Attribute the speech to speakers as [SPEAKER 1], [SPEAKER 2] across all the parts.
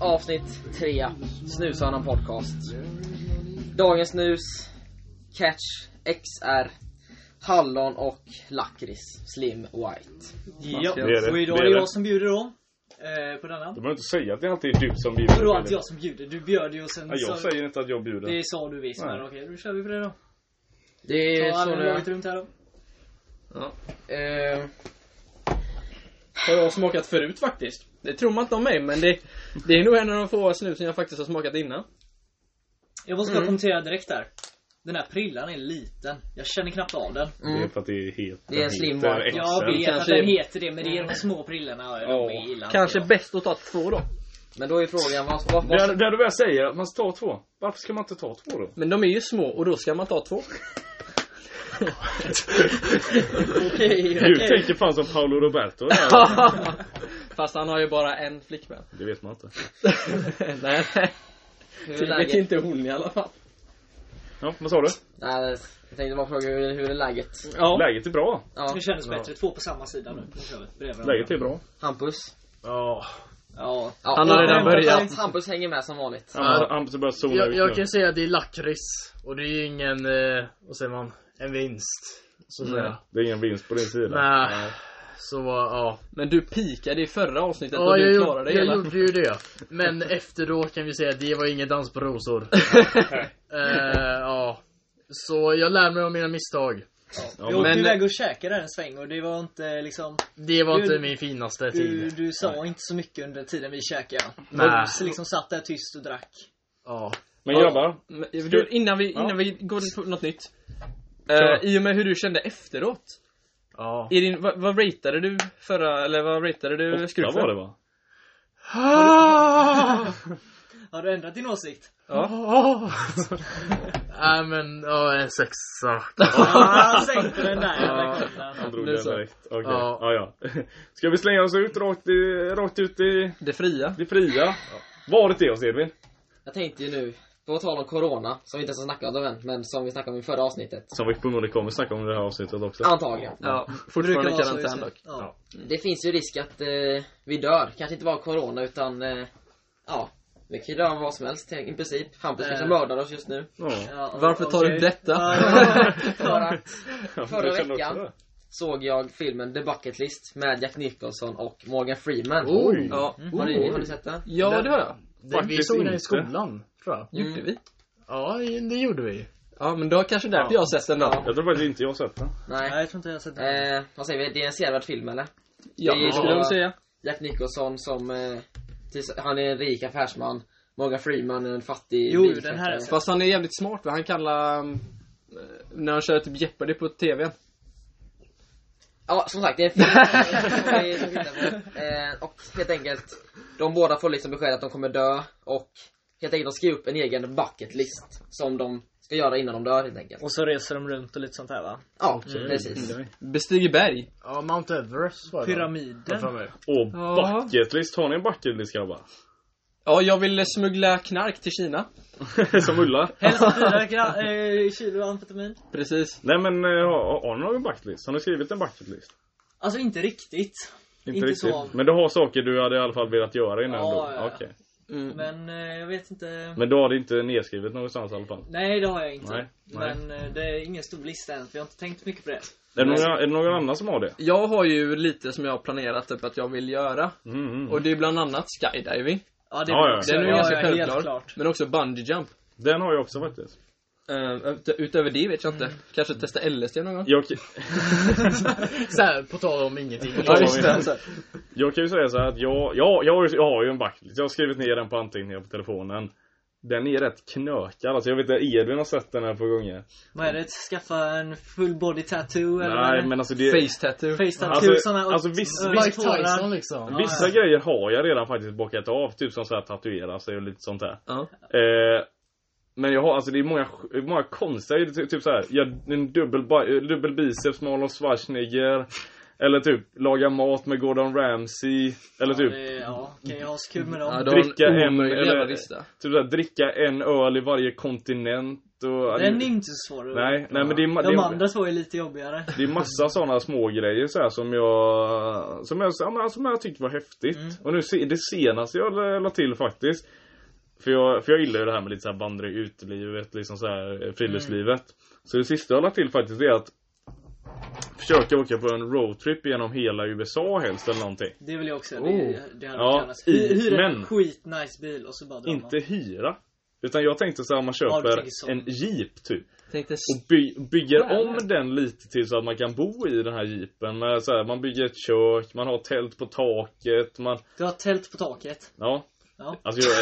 [SPEAKER 1] Avsnitt 3. Snusarnan podcast. Dagens snus. Catch. XR. Hallon och lakrits. Slim White.
[SPEAKER 2] Ja,
[SPEAKER 3] Det är det.
[SPEAKER 2] och idag
[SPEAKER 3] Det
[SPEAKER 2] är
[SPEAKER 3] är
[SPEAKER 2] det
[SPEAKER 3] jag
[SPEAKER 2] jag som bjuder då. Eh, på denna.
[SPEAKER 3] Du behöver inte säga att det alltid är du som bjuder.
[SPEAKER 2] Vadå att jag som bjuder? Du bjöd ju och sen
[SPEAKER 3] Ja, jag
[SPEAKER 2] sa
[SPEAKER 3] säger inte att jag bjuder.
[SPEAKER 2] Det sa du visst, men
[SPEAKER 3] Nej.
[SPEAKER 2] okej, då kör vi på det då.
[SPEAKER 1] Det är
[SPEAKER 2] Ta
[SPEAKER 1] så
[SPEAKER 2] alla laget
[SPEAKER 1] det
[SPEAKER 2] runt här då.
[SPEAKER 4] Ja.
[SPEAKER 1] är. Eh,
[SPEAKER 4] Har jag smakat förut faktiskt. Det tror man inte om mig men det, det är nog en av de få snusen jag faktiskt har smakat innan.
[SPEAKER 2] Jag måste
[SPEAKER 1] Mm.
[SPEAKER 2] bara kommentera direkt där. Den här prillan är liten. Jag känner knappt av den.
[SPEAKER 3] Det är
[SPEAKER 1] mm.
[SPEAKER 3] för att det är helt...
[SPEAKER 1] Det är en slim
[SPEAKER 3] heter
[SPEAKER 1] white.
[SPEAKER 3] XL.
[SPEAKER 2] Jag vet
[SPEAKER 4] Kanske-
[SPEAKER 2] att den heter det, men det
[SPEAKER 1] Mm.
[SPEAKER 2] är de små prillorna. och De är illa.
[SPEAKER 4] Kanske
[SPEAKER 2] Ja.
[SPEAKER 4] bäst att ta två då.
[SPEAKER 1] Men då är frågan vad, vad, vad,
[SPEAKER 3] Där, där du väl säger att man ska ta två. Varför ska man inte ta två då?
[SPEAKER 4] Men de är ju små och då ska man ta två.
[SPEAKER 2] Okej,
[SPEAKER 3] Du
[SPEAKER 2] okej.
[SPEAKER 3] tänker fan som Paolo Roberto. där.
[SPEAKER 4] Fast han har ju bara en flickvän.
[SPEAKER 3] det vet man inte.
[SPEAKER 4] nej, nej.
[SPEAKER 1] hur är
[SPEAKER 4] Det vet
[SPEAKER 1] läget?
[SPEAKER 4] inte hon i alla fall.
[SPEAKER 3] Ja, vad sa du?
[SPEAKER 1] Nej, jag tänkte bara fråga hur, hur är läget?
[SPEAKER 4] Ja.
[SPEAKER 3] Läget är bra.
[SPEAKER 1] Ja,
[SPEAKER 2] Det kändes bättre. Två på samma sida nu. Nu kör vi. Bredvid varandra.
[SPEAKER 3] Läget är bra.
[SPEAKER 1] Hampus.
[SPEAKER 3] Ja.
[SPEAKER 2] Ja.
[SPEAKER 1] Ja,
[SPEAKER 4] Han har redan börjat.
[SPEAKER 1] Hampus hänger med som vanligt.
[SPEAKER 3] Han har- han börjar zona
[SPEAKER 5] Jag,
[SPEAKER 3] ut
[SPEAKER 5] jag
[SPEAKER 3] nu.
[SPEAKER 5] kan säga att det är lakrits. Och det är ju ingen, eh, vad säger man, en vinst. Så att
[SPEAKER 3] Nej,
[SPEAKER 5] säga.
[SPEAKER 3] Det är ingen vinst på din sida.
[SPEAKER 5] Nej. Så ja.
[SPEAKER 4] Men du pikade i förra avsnittet
[SPEAKER 5] Ja,
[SPEAKER 4] och
[SPEAKER 5] jag,
[SPEAKER 4] du
[SPEAKER 5] gjorde,
[SPEAKER 4] klarade det hela.
[SPEAKER 5] jag gjorde ju det. Men efteråt kan vi säga att det var ingen dans på rosor. eh, ja. Så jag lär mig av mina misstag.
[SPEAKER 2] Ja. Vi åkte
[SPEAKER 4] men-
[SPEAKER 2] iväg och käkade där en sväng och det var inte liksom...
[SPEAKER 5] Det var
[SPEAKER 2] Du-
[SPEAKER 5] inte min finaste
[SPEAKER 2] Du,
[SPEAKER 5] tid.
[SPEAKER 2] du sa inte så mycket under tiden vi käkade.
[SPEAKER 5] Nej.
[SPEAKER 2] Du liksom satt där tyst och drack.
[SPEAKER 5] Ja.
[SPEAKER 3] Men grabbar.
[SPEAKER 4] Men, du, innan vi, innan vi går in på något nytt.
[SPEAKER 3] Kör.
[SPEAKER 4] Eh, I och med hur du kände efteråt.
[SPEAKER 5] Ja.
[SPEAKER 4] I din, vad, vad ratade du förra, eller vad ratade du
[SPEAKER 3] Åtta
[SPEAKER 4] skruffen?
[SPEAKER 3] var det va?
[SPEAKER 5] Ah!
[SPEAKER 2] Har du ändrat din åsikt?
[SPEAKER 4] Ja.
[SPEAKER 5] Nej men, ja en sexa.
[SPEAKER 2] Ja, han sänkte den där jävla
[SPEAKER 3] Han
[SPEAKER 2] kunden.
[SPEAKER 3] drog
[SPEAKER 4] Det är
[SPEAKER 3] den
[SPEAKER 4] så.
[SPEAKER 3] direkt. Okej.
[SPEAKER 5] Ja.
[SPEAKER 3] Ja. ja, Ska vi slänga oss ut rakt, i, rakt ut i
[SPEAKER 4] Det fria.
[SPEAKER 3] det fria? Varet är oss Edvin.
[SPEAKER 1] Jag tänkte ju nu, på tal om Corona, som vi inte ens har snackat om än, men som vi snackade om i förra avsnittet.
[SPEAKER 3] Som vi förmodligen kommer snacka om i det här avsnittet också.
[SPEAKER 1] Antagligen.
[SPEAKER 4] Ja,
[SPEAKER 2] Brukar
[SPEAKER 4] fortfarande
[SPEAKER 2] vara så just
[SPEAKER 4] karantän
[SPEAKER 2] nu.
[SPEAKER 4] dock.
[SPEAKER 2] Ja.
[SPEAKER 1] Det finns ju risk att eh, vi dör. Kanske inte bara corona utan eh, ja, vi kan ju dö av vad som helst i princip. Hampus
[SPEAKER 2] Eh.
[SPEAKER 1] kanske mördar oss just nu.
[SPEAKER 3] Ja.
[SPEAKER 2] Ja,
[SPEAKER 4] Varför tar du
[SPEAKER 2] okej.
[SPEAKER 4] detta?
[SPEAKER 2] Ja,
[SPEAKER 1] För att
[SPEAKER 3] Ja,
[SPEAKER 1] Förra
[SPEAKER 3] jag kände också
[SPEAKER 1] veckan.
[SPEAKER 3] det.
[SPEAKER 1] såg jag filmen The Bucket List med Jack Nicholson och Morgan Freeman.
[SPEAKER 5] Oh.
[SPEAKER 3] Oj.
[SPEAKER 4] Ja,
[SPEAKER 1] Har, ni, har ni sett den?
[SPEAKER 4] ja det Mm. har jag.
[SPEAKER 5] Det, vi
[SPEAKER 3] Faktiskt
[SPEAKER 5] såg den i
[SPEAKER 3] inte.
[SPEAKER 5] skolan, tror jag.
[SPEAKER 4] Gjorde vi?
[SPEAKER 5] Ja, det gjorde vi.
[SPEAKER 4] Ja, men då kanske därför jag har sett den då.
[SPEAKER 3] Jag tror faktiskt inte jag har sett den.
[SPEAKER 1] Nej.
[SPEAKER 2] Nej, jag tror inte jag har sett den.
[SPEAKER 1] Eh, vad säger vi? Det är en sevärd film eller?
[SPEAKER 4] Ja,
[SPEAKER 1] Det är-
[SPEAKER 4] det skulle jag väl säga.
[SPEAKER 1] Jack Nicholson som eh, tills, han är en rik affärsman. Morgan Freeman är en fattig
[SPEAKER 2] Jo,
[SPEAKER 1] biltvättare.
[SPEAKER 2] den här är så-
[SPEAKER 4] Fast han är jävligt smart va? Han kallar... mm, eh, När han kör typ Jeopardy på TVn.
[SPEAKER 1] Ja, som sagt, det är en film som vi- som vi tittar på. eh, Och helt enkelt, de båda får liksom besked att de kommer dö och helt enkelt de skriver upp en egen bucket list som de ska göra innan de dör helt enkelt.
[SPEAKER 2] Och så reser de runt och lite sånt här va?
[SPEAKER 1] Ja, precis.
[SPEAKER 4] Bestiger berg.
[SPEAKER 5] Ja, Mount Everest var det.
[SPEAKER 2] Pyramiden.
[SPEAKER 3] Och
[SPEAKER 4] Ja.
[SPEAKER 3] bucket list. Har ni en bucket list grabbar?
[SPEAKER 4] Ja, jag vill smuggla knark till Kina.
[SPEAKER 3] Som Ulla?
[SPEAKER 2] Hälsa fyra gra- eh, kilo amfetamin.
[SPEAKER 4] Precis.
[SPEAKER 3] Nej men eh, har har ni någon bucket list? Har ni skrivit en bucket list?
[SPEAKER 2] Alltså inte riktigt.
[SPEAKER 3] Inte,
[SPEAKER 2] Inte
[SPEAKER 3] riktigt.
[SPEAKER 2] så.
[SPEAKER 3] Men du har saker du hade i alla fall velat göra innan
[SPEAKER 2] Ja, ja,
[SPEAKER 3] då?
[SPEAKER 2] ja.
[SPEAKER 3] Okej.
[SPEAKER 4] Mm.
[SPEAKER 2] Men eh, jag vet inte.
[SPEAKER 3] Men du har det inte nedskrivet någonstans i alla fall?
[SPEAKER 2] Nej, det har jag inte.
[SPEAKER 3] Nej, nej.
[SPEAKER 2] Men eh, det är ingen stor lista än, för jag har inte tänkt mycket på det.
[SPEAKER 3] Är det, några, är det någon annan som har det?
[SPEAKER 4] Jag har ju lite som jag har planerat typ att jag vill göra.
[SPEAKER 3] Mm, mm.
[SPEAKER 4] Och det är bland annat skydiving.
[SPEAKER 2] Ja, det vill
[SPEAKER 3] Ja, ja.
[SPEAKER 2] jag också
[SPEAKER 4] Den är ju
[SPEAKER 2] göra.
[SPEAKER 4] ganska
[SPEAKER 2] Ja, ja, helt
[SPEAKER 4] självklar.
[SPEAKER 2] klart.
[SPEAKER 4] Men också bungee jump.
[SPEAKER 3] Den har jag också faktiskt.
[SPEAKER 4] Eh, ut- utöver det vet jag inte. Kanske testa LSD någon gång?
[SPEAKER 3] Jag,
[SPEAKER 5] Såhär, på tal om ingenting.
[SPEAKER 3] tal om-
[SPEAKER 4] det.
[SPEAKER 3] jag kan ju säga så här att jag, jag, jag, har ju- jag har ju en bucket list. Jag har skrivit ner den på anteckningar på telefonen. Den är rätt knökad. Alltså jag vet inte, Edvin har sett den här på gånger.
[SPEAKER 2] Vad är det? Skaffa en full body tattoo eller? vad är
[SPEAKER 3] Nej
[SPEAKER 2] det?
[SPEAKER 3] men alltså det...
[SPEAKER 4] Face tattoo.
[SPEAKER 2] Face tattoo,
[SPEAKER 3] Alltså-
[SPEAKER 2] såna
[SPEAKER 3] alltså viss-
[SPEAKER 2] ö-
[SPEAKER 3] viss-
[SPEAKER 5] Mike
[SPEAKER 2] tårar.
[SPEAKER 5] Tyson liksom.
[SPEAKER 3] Vissa grejer har jag redan faktiskt bockat av, typ som så här tatuera sig och lite sånt där.
[SPEAKER 4] Ja.
[SPEAKER 3] Eh, men jag har, alltså det är många, många konstiga, typ, typ så här, jag, en dubbel, bi- eh, dubbel biceps med Arnold Schwarzenegger. Eller typ laga mat med Gordon Ramsay. Eller
[SPEAKER 2] Ja,
[SPEAKER 3] typ,
[SPEAKER 2] det- Ja, kan jag ha så kul med
[SPEAKER 4] Ja,
[SPEAKER 2] dem?
[SPEAKER 4] du har en
[SPEAKER 3] Dricka en-
[SPEAKER 4] omöjlig
[SPEAKER 3] eller-
[SPEAKER 4] jävla lista.
[SPEAKER 3] typ så här, dricka en öl i varje kontinent. lätt och...
[SPEAKER 2] Den är inte så svår att-
[SPEAKER 3] Nej, nej men det är, ma-
[SPEAKER 2] De
[SPEAKER 3] det, är,
[SPEAKER 2] andra två är lite jobbigare.
[SPEAKER 3] det är massa sådana små grejer så här som jag... Som jag, ja, men som jag tyckte var häftigt. Och nu se- det senaste jag la- la till faktiskt. För jag, för jag gillar ju det här med lite så här vandra i utelivet, liksom så här eh, friluftslivet. Så det sista jag la till faktiskt är att försöka åka på en roadtrip genom hela USA helst eller någonting.
[SPEAKER 2] Det vill jag också.
[SPEAKER 3] Oh.
[SPEAKER 2] Det, det hade
[SPEAKER 3] Ja,
[SPEAKER 2] varit annars. Hy-
[SPEAKER 3] i-
[SPEAKER 2] Hyra en
[SPEAKER 3] men-
[SPEAKER 2] skitnice bil och så bara drar man.
[SPEAKER 3] Inte hyra. Utan jag tänkte så här, man
[SPEAKER 2] Ja, du
[SPEAKER 3] köper
[SPEAKER 2] tänker så.
[SPEAKER 3] en jeep typ.
[SPEAKER 6] Tänkte
[SPEAKER 3] Och by, bygger om den lite till så att man kan bo i den här jeepen. Med så här, man bygger ett kök, man har tält på taket, man...
[SPEAKER 2] Du har tält på taket.
[SPEAKER 3] Ja.
[SPEAKER 2] Ja.
[SPEAKER 3] Alltså jag,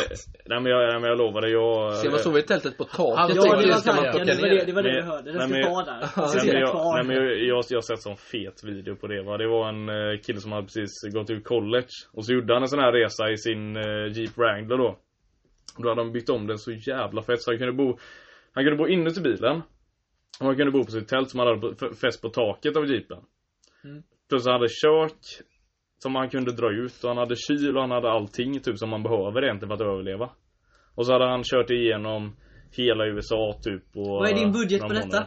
[SPEAKER 3] nej men jag, nej, men jag lovar det, jag...
[SPEAKER 4] Ska man sova i tältet på
[SPEAKER 5] Ja,
[SPEAKER 4] taket?
[SPEAKER 5] det
[SPEAKER 2] Ja, det
[SPEAKER 5] tänker
[SPEAKER 2] var
[SPEAKER 5] jag ska man
[SPEAKER 2] tanken.
[SPEAKER 5] plocka
[SPEAKER 2] Det var det,
[SPEAKER 5] ner.
[SPEAKER 2] det, var det
[SPEAKER 3] Nej,
[SPEAKER 2] du hörde. Den
[SPEAKER 3] nej,
[SPEAKER 2] ska
[SPEAKER 3] men-
[SPEAKER 2] vara där.
[SPEAKER 4] Ja,
[SPEAKER 2] Och så
[SPEAKER 3] Nej
[SPEAKER 2] är
[SPEAKER 3] men,
[SPEAKER 2] den
[SPEAKER 3] jag, nej, men
[SPEAKER 2] kvar.
[SPEAKER 3] jag, jag, jag har sett sån fet video på det va. Det var en eh, kille som hade precis gått ur college. Och så gjorde han en sån här resa i sin eh, Jeep Wrangler då. Och då hade de byggt om den så jävla fett så han kunde bo Han kunde bo inuti bilen. Och han kunde bo på sitt tält som han hade på- f- fäst på taket av jeepen.
[SPEAKER 2] Mm.
[SPEAKER 3] Plus han hade kök. Som han kunde dra ut och han hade kyl och han hade allting typ som man behöver egentligen för att överleva. Och så hade han kört igenom Hela USA typ på
[SPEAKER 2] Vad är din budget
[SPEAKER 3] några
[SPEAKER 2] på
[SPEAKER 3] månader.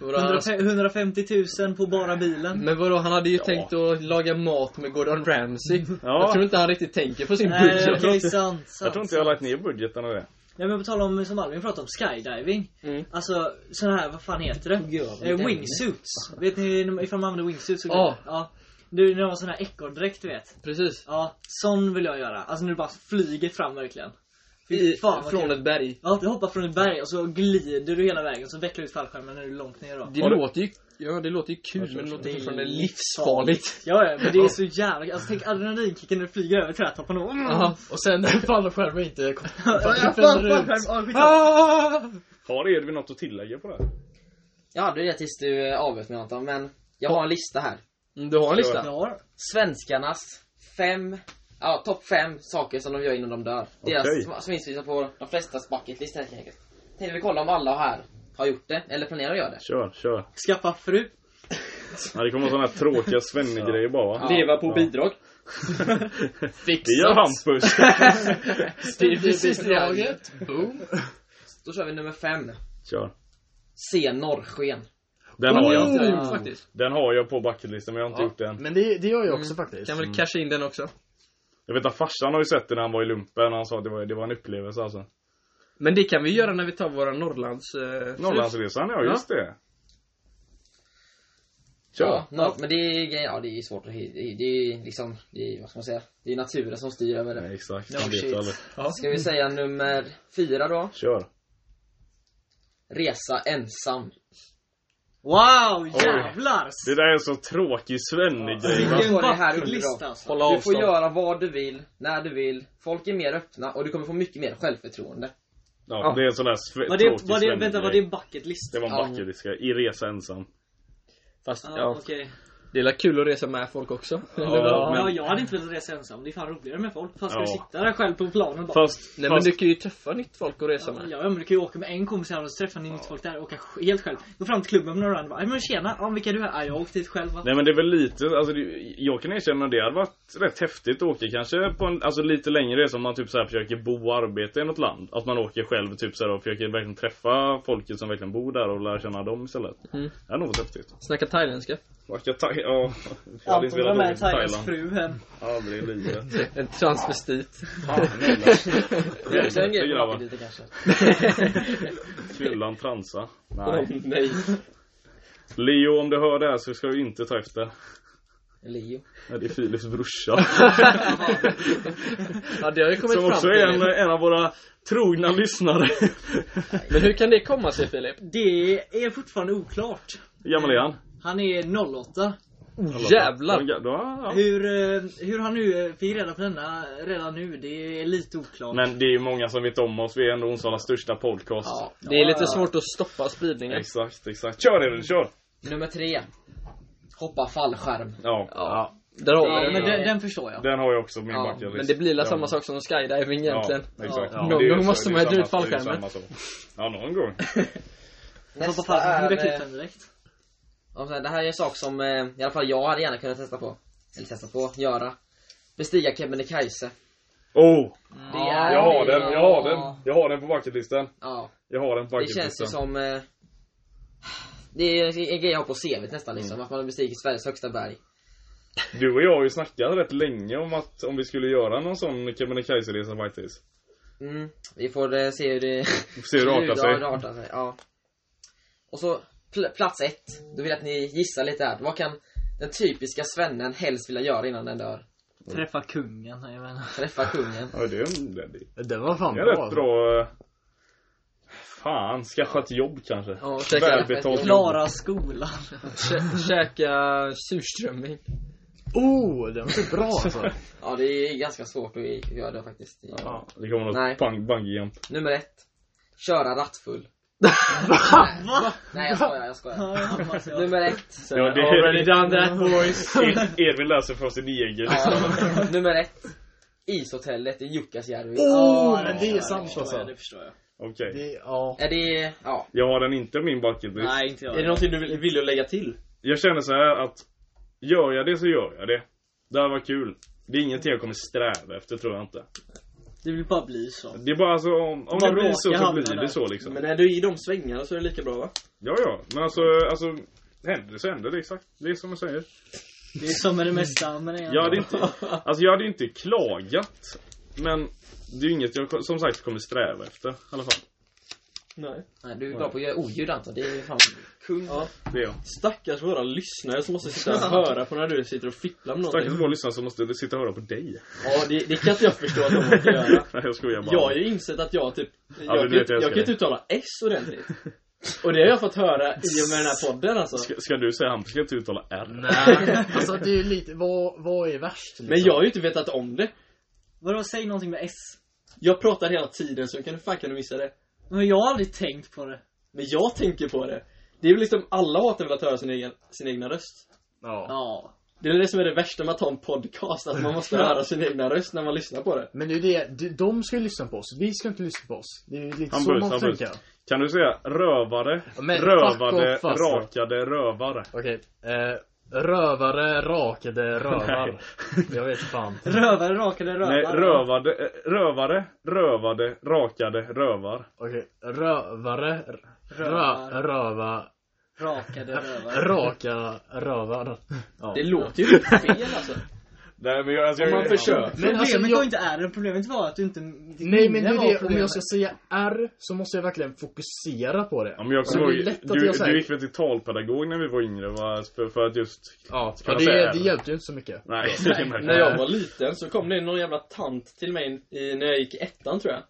[SPEAKER 2] detta? 150 000 på bara bilen.
[SPEAKER 4] Men vadå, han hade ju tänkt att laga mat med Gordon Ramsay.
[SPEAKER 3] Ja.
[SPEAKER 4] Jag tror inte han riktigt tänker på sin
[SPEAKER 2] Nej,
[SPEAKER 4] budget.
[SPEAKER 2] okej, sant, sant.
[SPEAKER 3] Jag tror inte jag har lagt ner budgeten av det.
[SPEAKER 2] Nej men på tal om, som Alvin pratade om, skydiving.
[SPEAKER 3] Mm.
[SPEAKER 2] Alltså, sån här, vad fan heter det? Eh, wingsuits. Vet ni ifall man använder wingsuits? så-
[SPEAKER 4] Ja.
[SPEAKER 2] ja. Du, när man har sån här ekorrdräkt, du vet.
[SPEAKER 4] Precis.
[SPEAKER 2] Ja, sån vill jag göra. Alltså när du bara flyger fram verkligen. Fy
[SPEAKER 4] I,
[SPEAKER 2] fan, vad
[SPEAKER 4] från
[SPEAKER 2] kul.
[SPEAKER 4] ett berg.
[SPEAKER 2] Ja, du hoppar från ett berg och så glider du hela vägen så vecklar du ut fallskärmen när du är långt ner då.
[SPEAKER 4] Det
[SPEAKER 3] Har du-
[SPEAKER 4] låter ju... Ja, det låter ju kul, men det låter
[SPEAKER 2] det är
[SPEAKER 4] fortfarande
[SPEAKER 2] ju-
[SPEAKER 4] livsfarligt.
[SPEAKER 2] Ja, ja, men det är så jävla Alltså tänk adrenalinkicken när du flyger över trädtopparna och...
[SPEAKER 4] Ja.
[SPEAKER 5] Och sen när fallskärmen inte kom.
[SPEAKER 2] Ja,
[SPEAKER 5] fäller
[SPEAKER 2] fan,
[SPEAKER 5] ut.
[SPEAKER 2] fallskärm! Ja, skitsamma.
[SPEAKER 3] Har Edvin något att tillägga på det här?
[SPEAKER 1] Jag hade det tills du eh, avbröt mig Anton, men jag har en lista här.
[SPEAKER 4] Mm, Du har en lista?
[SPEAKER 2] Ja,
[SPEAKER 1] Svenskarnas fem, ja topp fem saker som de gör innan de dör. Deras,
[SPEAKER 3] Okej.
[SPEAKER 1] som- som finns på de flestas bucket list helt enkelt. Tänkte vi kolla om alla här har gjort det, eller planerar att göra det.
[SPEAKER 3] Kör, kör.
[SPEAKER 2] skaffa fru.
[SPEAKER 3] Ja, det kommer sådana här tråkiga svennegrejer bara va?
[SPEAKER 6] Leva på bidrag.
[SPEAKER 5] Fixat.
[SPEAKER 3] Det gör Hampus.
[SPEAKER 5] Det är precis draget. Boom.
[SPEAKER 1] Då kör vi nummer fem.
[SPEAKER 3] Kör.
[SPEAKER 1] Se norrsken.
[SPEAKER 3] Den har jag.
[SPEAKER 4] Mm, faktiskt.
[SPEAKER 3] Den har jag på bucketlisten men jag har inte gjort den.
[SPEAKER 5] Men det, det gör jag också faktiskt.
[SPEAKER 4] Kan väl casha in den också.
[SPEAKER 3] Jag vet att farsan har ju sett den när han var i lumpen och han sa att det var, det var en upplevelse alltså.
[SPEAKER 4] Men det kan vi göra när vi tar våra Norrlands... Eh,
[SPEAKER 3] Norrlandsresan ja, just det. Kör.
[SPEAKER 1] Ja, nor- men det är, grejen- ja, det är svårt att hi- det är, det är liksom, det är, vad ska man säga, det är naturen som styr över det.
[SPEAKER 3] Nej, exakt. Man vet ju aldrig.
[SPEAKER 1] Ska vi säga nummer fyra då?
[SPEAKER 3] Kör.
[SPEAKER 1] Resa ensam.
[SPEAKER 2] Wow, jävlar!
[SPEAKER 3] Det där är en så tråkig svennegrej va?
[SPEAKER 1] Vad
[SPEAKER 2] Vilken
[SPEAKER 1] var det här
[SPEAKER 2] bucketlista
[SPEAKER 1] under
[SPEAKER 2] alltså.
[SPEAKER 1] Du får göra vad du vill, när du vill. Folk är mer öppna och du kommer få mycket mer självförtroende.
[SPEAKER 3] Ja, det är en sån där sve-
[SPEAKER 2] Var
[SPEAKER 3] tråkig
[SPEAKER 2] det, var det, vänta, var det
[SPEAKER 3] svennegrej.
[SPEAKER 2] bucketlist?
[SPEAKER 3] Det var en bucketlist. I resa ensam.
[SPEAKER 4] Fast
[SPEAKER 2] Ja,
[SPEAKER 4] ja,
[SPEAKER 2] okej.
[SPEAKER 4] det är väl kul att resa med folk också.
[SPEAKER 3] Ja, men-
[SPEAKER 2] Ja, jag hade inte velat resa ensam. Det är fan roligare med folk. Fan, ska
[SPEAKER 3] Ja.
[SPEAKER 2] du sitta där själv på planen och bara...
[SPEAKER 3] Fast,
[SPEAKER 4] Nej men
[SPEAKER 3] fast
[SPEAKER 4] du kan ju träffa nytt folk och resa
[SPEAKER 2] Ja,
[SPEAKER 4] med.
[SPEAKER 2] ja men du kan ju åka med en kompis här och så träffar ni nytt folk där och åka sj- helt själv. Gå fram till klubben med några andra och bara, "Ja, men tjena, ja, vilka är du är? Ja, jag åkte hit själv va?
[SPEAKER 3] Nej men det är väl lite, alltså det, jag kan erkänna det hade varit rätt häftigt att åka kanske på en, alltså lite längre resa om man typ så här försöker bo och arbeta i något land. Att man åker själv typ så här och försöker verkligen träffa folket som verkligen bor där och lära känna dem istället.
[SPEAKER 4] Mm.
[SPEAKER 3] Det hade nog varit häftigt.
[SPEAKER 4] Snacka thailändska.
[SPEAKER 3] Åka Thai, ja. Jag hade inte
[SPEAKER 2] Anton var
[SPEAKER 3] velat åka
[SPEAKER 2] med
[SPEAKER 3] till
[SPEAKER 2] Thailands
[SPEAKER 3] Thailand.
[SPEAKER 2] fru hem.
[SPEAKER 3] Aldrig i livet.
[SPEAKER 4] En transvestit.
[SPEAKER 3] Fan heller.
[SPEAKER 1] Det är också en grej
[SPEAKER 3] grabbar.
[SPEAKER 1] på lite kanske.
[SPEAKER 3] Fyllan transa. Nej. Leo om du hör det här så ska du inte ta efter.
[SPEAKER 1] Leo.
[SPEAKER 3] Nej, Det är Filips brorsa.
[SPEAKER 4] Ja det har ju kommit
[SPEAKER 3] Som
[SPEAKER 4] fram
[SPEAKER 3] också
[SPEAKER 4] till.
[SPEAKER 3] är en, en av våra trogna lyssnare.
[SPEAKER 4] Men hur kan det komma sig Filip?
[SPEAKER 2] Det är fortfarande oklart.
[SPEAKER 3] Hur gammal är han?
[SPEAKER 2] Han är 08.
[SPEAKER 4] Jävlar!
[SPEAKER 3] Ja, ja.
[SPEAKER 2] Hur, eh, hur han nu eh, fick reda på denna redan nu, det är lite oklart.
[SPEAKER 3] Men det är ju många som vet om oss, vi är ändå Onsdagens största podcast.
[SPEAKER 1] Ja.
[SPEAKER 4] Det är lite svårt att stoppa spridningen.
[SPEAKER 3] Exakt, exakt. Kör Edvin, kör!
[SPEAKER 1] Nummer tre. Hoppa fallskärm.
[SPEAKER 3] Ja.
[SPEAKER 4] Ja. Där har vi
[SPEAKER 2] Ja,
[SPEAKER 4] den.
[SPEAKER 2] men den, den förstår jag.
[SPEAKER 3] Den har jag också på min
[SPEAKER 1] Ja,
[SPEAKER 3] bucketlist.
[SPEAKER 4] Men det blir
[SPEAKER 3] Ja.
[SPEAKER 4] väl samma sak som skydiving egentligen.
[SPEAKER 3] Ja, exakt.
[SPEAKER 5] Ja.
[SPEAKER 3] Men det är ju
[SPEAKER 4] Någon gång
[SPEAKER 3] så-
[SPEAKER 4] måste
[SPEAKER 3] det är
[SPEAKER 4] man
[SPEAKER 3] ju
[SPEAKER 4] ju dra ut
[SPEAKER 3] samma- det är ju
[SPEAKER 4] fallskärmen.
[SPEAKER 3] samma sak. Ja, någon gång.
[SPEAKER 2] Hoppa
[SPEAKER 1] Nästa
[SPEAKER 2] fallskärm,
[SPEAKER 1] är...
[SPEAKER 2] du kan
[SPEAKER 1] eh,
[SPEAKER 2] klippa den direkt.
[SPEAKER 1] om så här, Det här är en sak som eh, i alla fall jag hade gärna kunnat testa på. Eller testa på, göra. Bestiga Kebnekaise.
[SPEAKER 3] Oh!
[SPEAKER 1] Det är,
[SPEAKER 3] Jag har den, jag
[SPEAKER 1] ja.
[SPEAKER 3] har den. Jag har den på bucketlisten.
[SPEAKER 1] Ja,
[SPEAKER 3] Jag har den på
[SPEAKER 1] det känns ju
[SPEAKER 3] bucketlisten.
[SPEAKER 1] som... Eh, det är en grej jag har på CVt nästan liksom,
[SPEAKER 3] Mm.
[SPEAKER 1] att man har bestigit Sveriges högsta berg.
[SPEAKER 3] Du och jag har ju snackat rätt länge om att om vi skulle göra någon sån Kebnekaise-resa faktiskt.
[SPEAKER 1] Mm, vi får eh, se hur det...
[SPEAKER 3] Vi får se hur det artar sig.
[SPEAKER 1] artar sig. Ja. Och så pl- plats ett. Då vill jag att ni gissar lite här. Vad kan den typiska svennen helst vilja göra innan den dör?
[SPEAKER 2] Träffa kungen, jag menar.
[SPEAKER 1] Träffa kungen.
[SPEAKER 3] Ja, det är, det är-
[SPEAKER 5] Den var fan
[SPEAKER 3] det är
[SPEAKER 5] bra.
[SPEAKER 3] rätt
[SPEAKER 5] alltså.
[SPEAKER 3] bra. eh, Fan, skaffa ett jobb kanske.
[SPEAKER 1] Ja,
[SPEAKER 3] Välbetalt jobb.
[SPEAKER 2] Klara skolan.
[SPEAKER 4] Kä- käka surströmming.
[SPEAKER 5] Oh, den var bra alltså.
[SPEAKER 1] Ja, det är ganska svårt att göra det faktiskt.
[SPEAKER 3] Ja, det kommer
[SPEAKER 1] Nej.
[SPEAKER 3] något bang, bungee jump.
[SPEAKER 1] Nummer ett. Köra rattfull.
[SPEAKER 2] Va?
[SPEAKER 1] Nej, jag skojar, jag skojar.
[SPEAKER 2] Ja, det hoppas jag.
[SPEAKER 1] Nummer ett.
[SPEAKER 3] Ja, det
[SPEAKER 5] Already
[SPEAKER 3] är,
[SPEAKER 5] done that boys.
[SPEAKER 3] Ed- Edvin läser från sin egen lista.
[SPEAKER 1] Ja. Nummer ett. Ishotellet i Jukkasjärvi.
[SPEAKER 5] Oh, men det är
[SPEAKER 2] Ja,
[SPEAKER 5] sant
[SPEAKER 2] förstår jag,
[SPEAKER 5] alltså.
[SPEAKER 2] Det förstår jag.
[SPEAKER 3] Okej.
[SPEAKER 5] Det, ja.
[SPEAKER 1] Är det... Ja.
[SPEAKER 3] Jag har den inte på min bucket list.
[SPEAKER 2] Nej, inte jag.
[SPEAKER 4] Är det någonting du vill, vill du lägga till?
[SPEAKER 3] Jag känner så här att Gör jag det så gör jag det. Det här var kul. Det är ingenting jag kommer sträva efter tror jag inte.
[SPEAKER 2] Det vill bara bli så.
[SPEAKER 3] Det är bara alltså om, om
[SPEAKER 2] Man
[SPEAKER 3] det blir
[SPEAKER 2] råkar
[SPEAKER 3] så så
[SPEAKER 2] hamna
[SPEAKER 3] blir
[SPEAKER 2] där.
[SPEAKER 3] det så liksom.
[SPEAKER 4] Men är du i de svängarna så är det lika bra va?
[SPEAKER 3] Ja ja, men alltså, alltså händer det så händer det exakt. Det är som jag säger.
[SPEAKER 2] Det är som med det mesta, men det är
[SPEAKER 3] Jag hade inte, alltså jag hade inte klagat. Men det är ju inget jag som sagt kommer sträva efter i alla fall.
[SPEAKER 4] Nej.
[SPEAKER 1] Nej, du är bra på att göra oljud Anton. Det är fan
[SPEAKER 3] Mm.
[SPEAKER 1] kung.
[SPEAKER 4] Ja.
[SPEAKER 3] Det är jag.
[SPEAKER 4] Stackars våra lyssnare som måste sitta och höra på när du sitter och fipplar med
[SPEAKER 3] Stackars
[SPEAKER 4] någonting.
[SPEAKER 3] våra lyssnare som måste sitta och höra på dig.
[SPEAKER 4] Ja, det, det kan inte jag förstå att de orkar göra.
[SPEAKER 3] Nej jag skojar bara.
[SPEAKER 4] Jag har ju insett att jag typ, jag,
[SPEAKER 3] du
[SPEAKER 4] kan,
[SPEAKER 3] vet,
[SPEAKER 4] inte-
[SPEAKER 3] jag älskar
[SPEAKER 4] jag kan inte uttala S ordentligt. Och det har jag fått höra i och med den här podden alltså.
[SPEAKER 3] Ska, ska du säga Hampus ska inte uttala R?
[SPEAKER 5] Nej. Alltså det är ju lite, vad, vad är värst? Liksom?
[SPEAKER 4] Men jag har ju inte vetat om det.
[SPEAKER 2] Vadå, säg någonting med S.
[SPEAKER 4] Jag pratar hela tiden så kan du fan kan du missa det.
[SPEAKER 2] Men jag har aldrig tänkt på det.
[SPEAKER 4] Men jag tänker på det. Det är ju liksom, alla hatar väl att höra sin egen, sin egna röst.
[SPEAKER 5] Ja.
[SPEAKER 2] Ja.
[SPEAKER 4] Det är det som är det värsta med att ha en podcast, att man måste höra sin egna röst när man lyssnar på det.
[SPEAKER 5] Men det är ju det, de- de ska ju lyssna på oss. Vi ska inte lyssna på oss. Det är ju lite så
[SPEAKER 3] Hampus,
[SPEAKER 5] man måste
[SPEAKER 3] Hampus.
[SPEAKER 5] tänka.
[SPEAKER 3] Kan du säga rövare,
[SPEAKER 5] Men
[SPEAKER 3] rövade,
[SPEAKER 5] fuck off, alltså.
[SPEAKER 3] rakade rövare?
[SPEAKER 5] Okej. Eh, rövare, rakade, rövar. jag vet fan.
[SPEAKER 2] Rövare, rakade rövare.
[SPEAKER 3] Nej, rövade, eh, rövare, rövade, rakade, rövar.
[SPEAKER 5] Okej. Rövare, r- rö,
[SPEAKER 2] Rövar.
[SPEAKER 5] röva,
[SPEAKER 2] Rakade rövare.
[SPEAKER 5] raka rövar. Ja.
[SPEAKER 4] Det låter ju fel alltså.
[SPEAKER 3] Nej men jag, alltså,
[SPEAKER 4] Om
[SPEAKER 3] jag,
[SPEAKER 4] man försöker.
[SPEAKER 5] Men
[SPEAKER 2] Problemet
[SPEAKER 5] alltså,
[SPEAKER 2] var
[SPEAKER 5] jag-
[SPEAKER 2] inte är det, problemet var att du inte... ditt
[SPEAKER 5] Nej men
[SPEAKER 2] minne
[SPEAKER 5] det är
[SPEAKER 2] var
[SPEAKER 5] det, om
[SPEAKER 2] problemet.
[SPEAKER 5] jag ska säga R så måste jag verkligen fokusera på det.
[SPEAKER 3] Ja, men jag
[SPEAKER 5] Så
[SPEAKER 3] kommer
[SPEAKER 5] det är
[SPEAKER 3] ihåg,
[SPEAKER 5] lätt att
[SPEAKER 3] du,
[SPEAKER 5] jag säger-
[SPEAKER 3] du gick väl till talpedagog när vi var yngre va? För, för att just...
[SPEAKER 5] Ja,
[SPEAKER 3] Ska
[SPEAKER 5] ja
[SPEAKER 3] man
[SPEAKER 5] det,
[SPEAKER 3] säga
[SPEAKER 5] det
[SPEAKER 3] R?
[SPEAKER 5] hjälpte ju inte så mycket.
[SPEAKER 3] Nej,
[SPEAKER 4] När jag var liten så kom det någon jävla tant till mig i, när jag gick i ettan tror jag.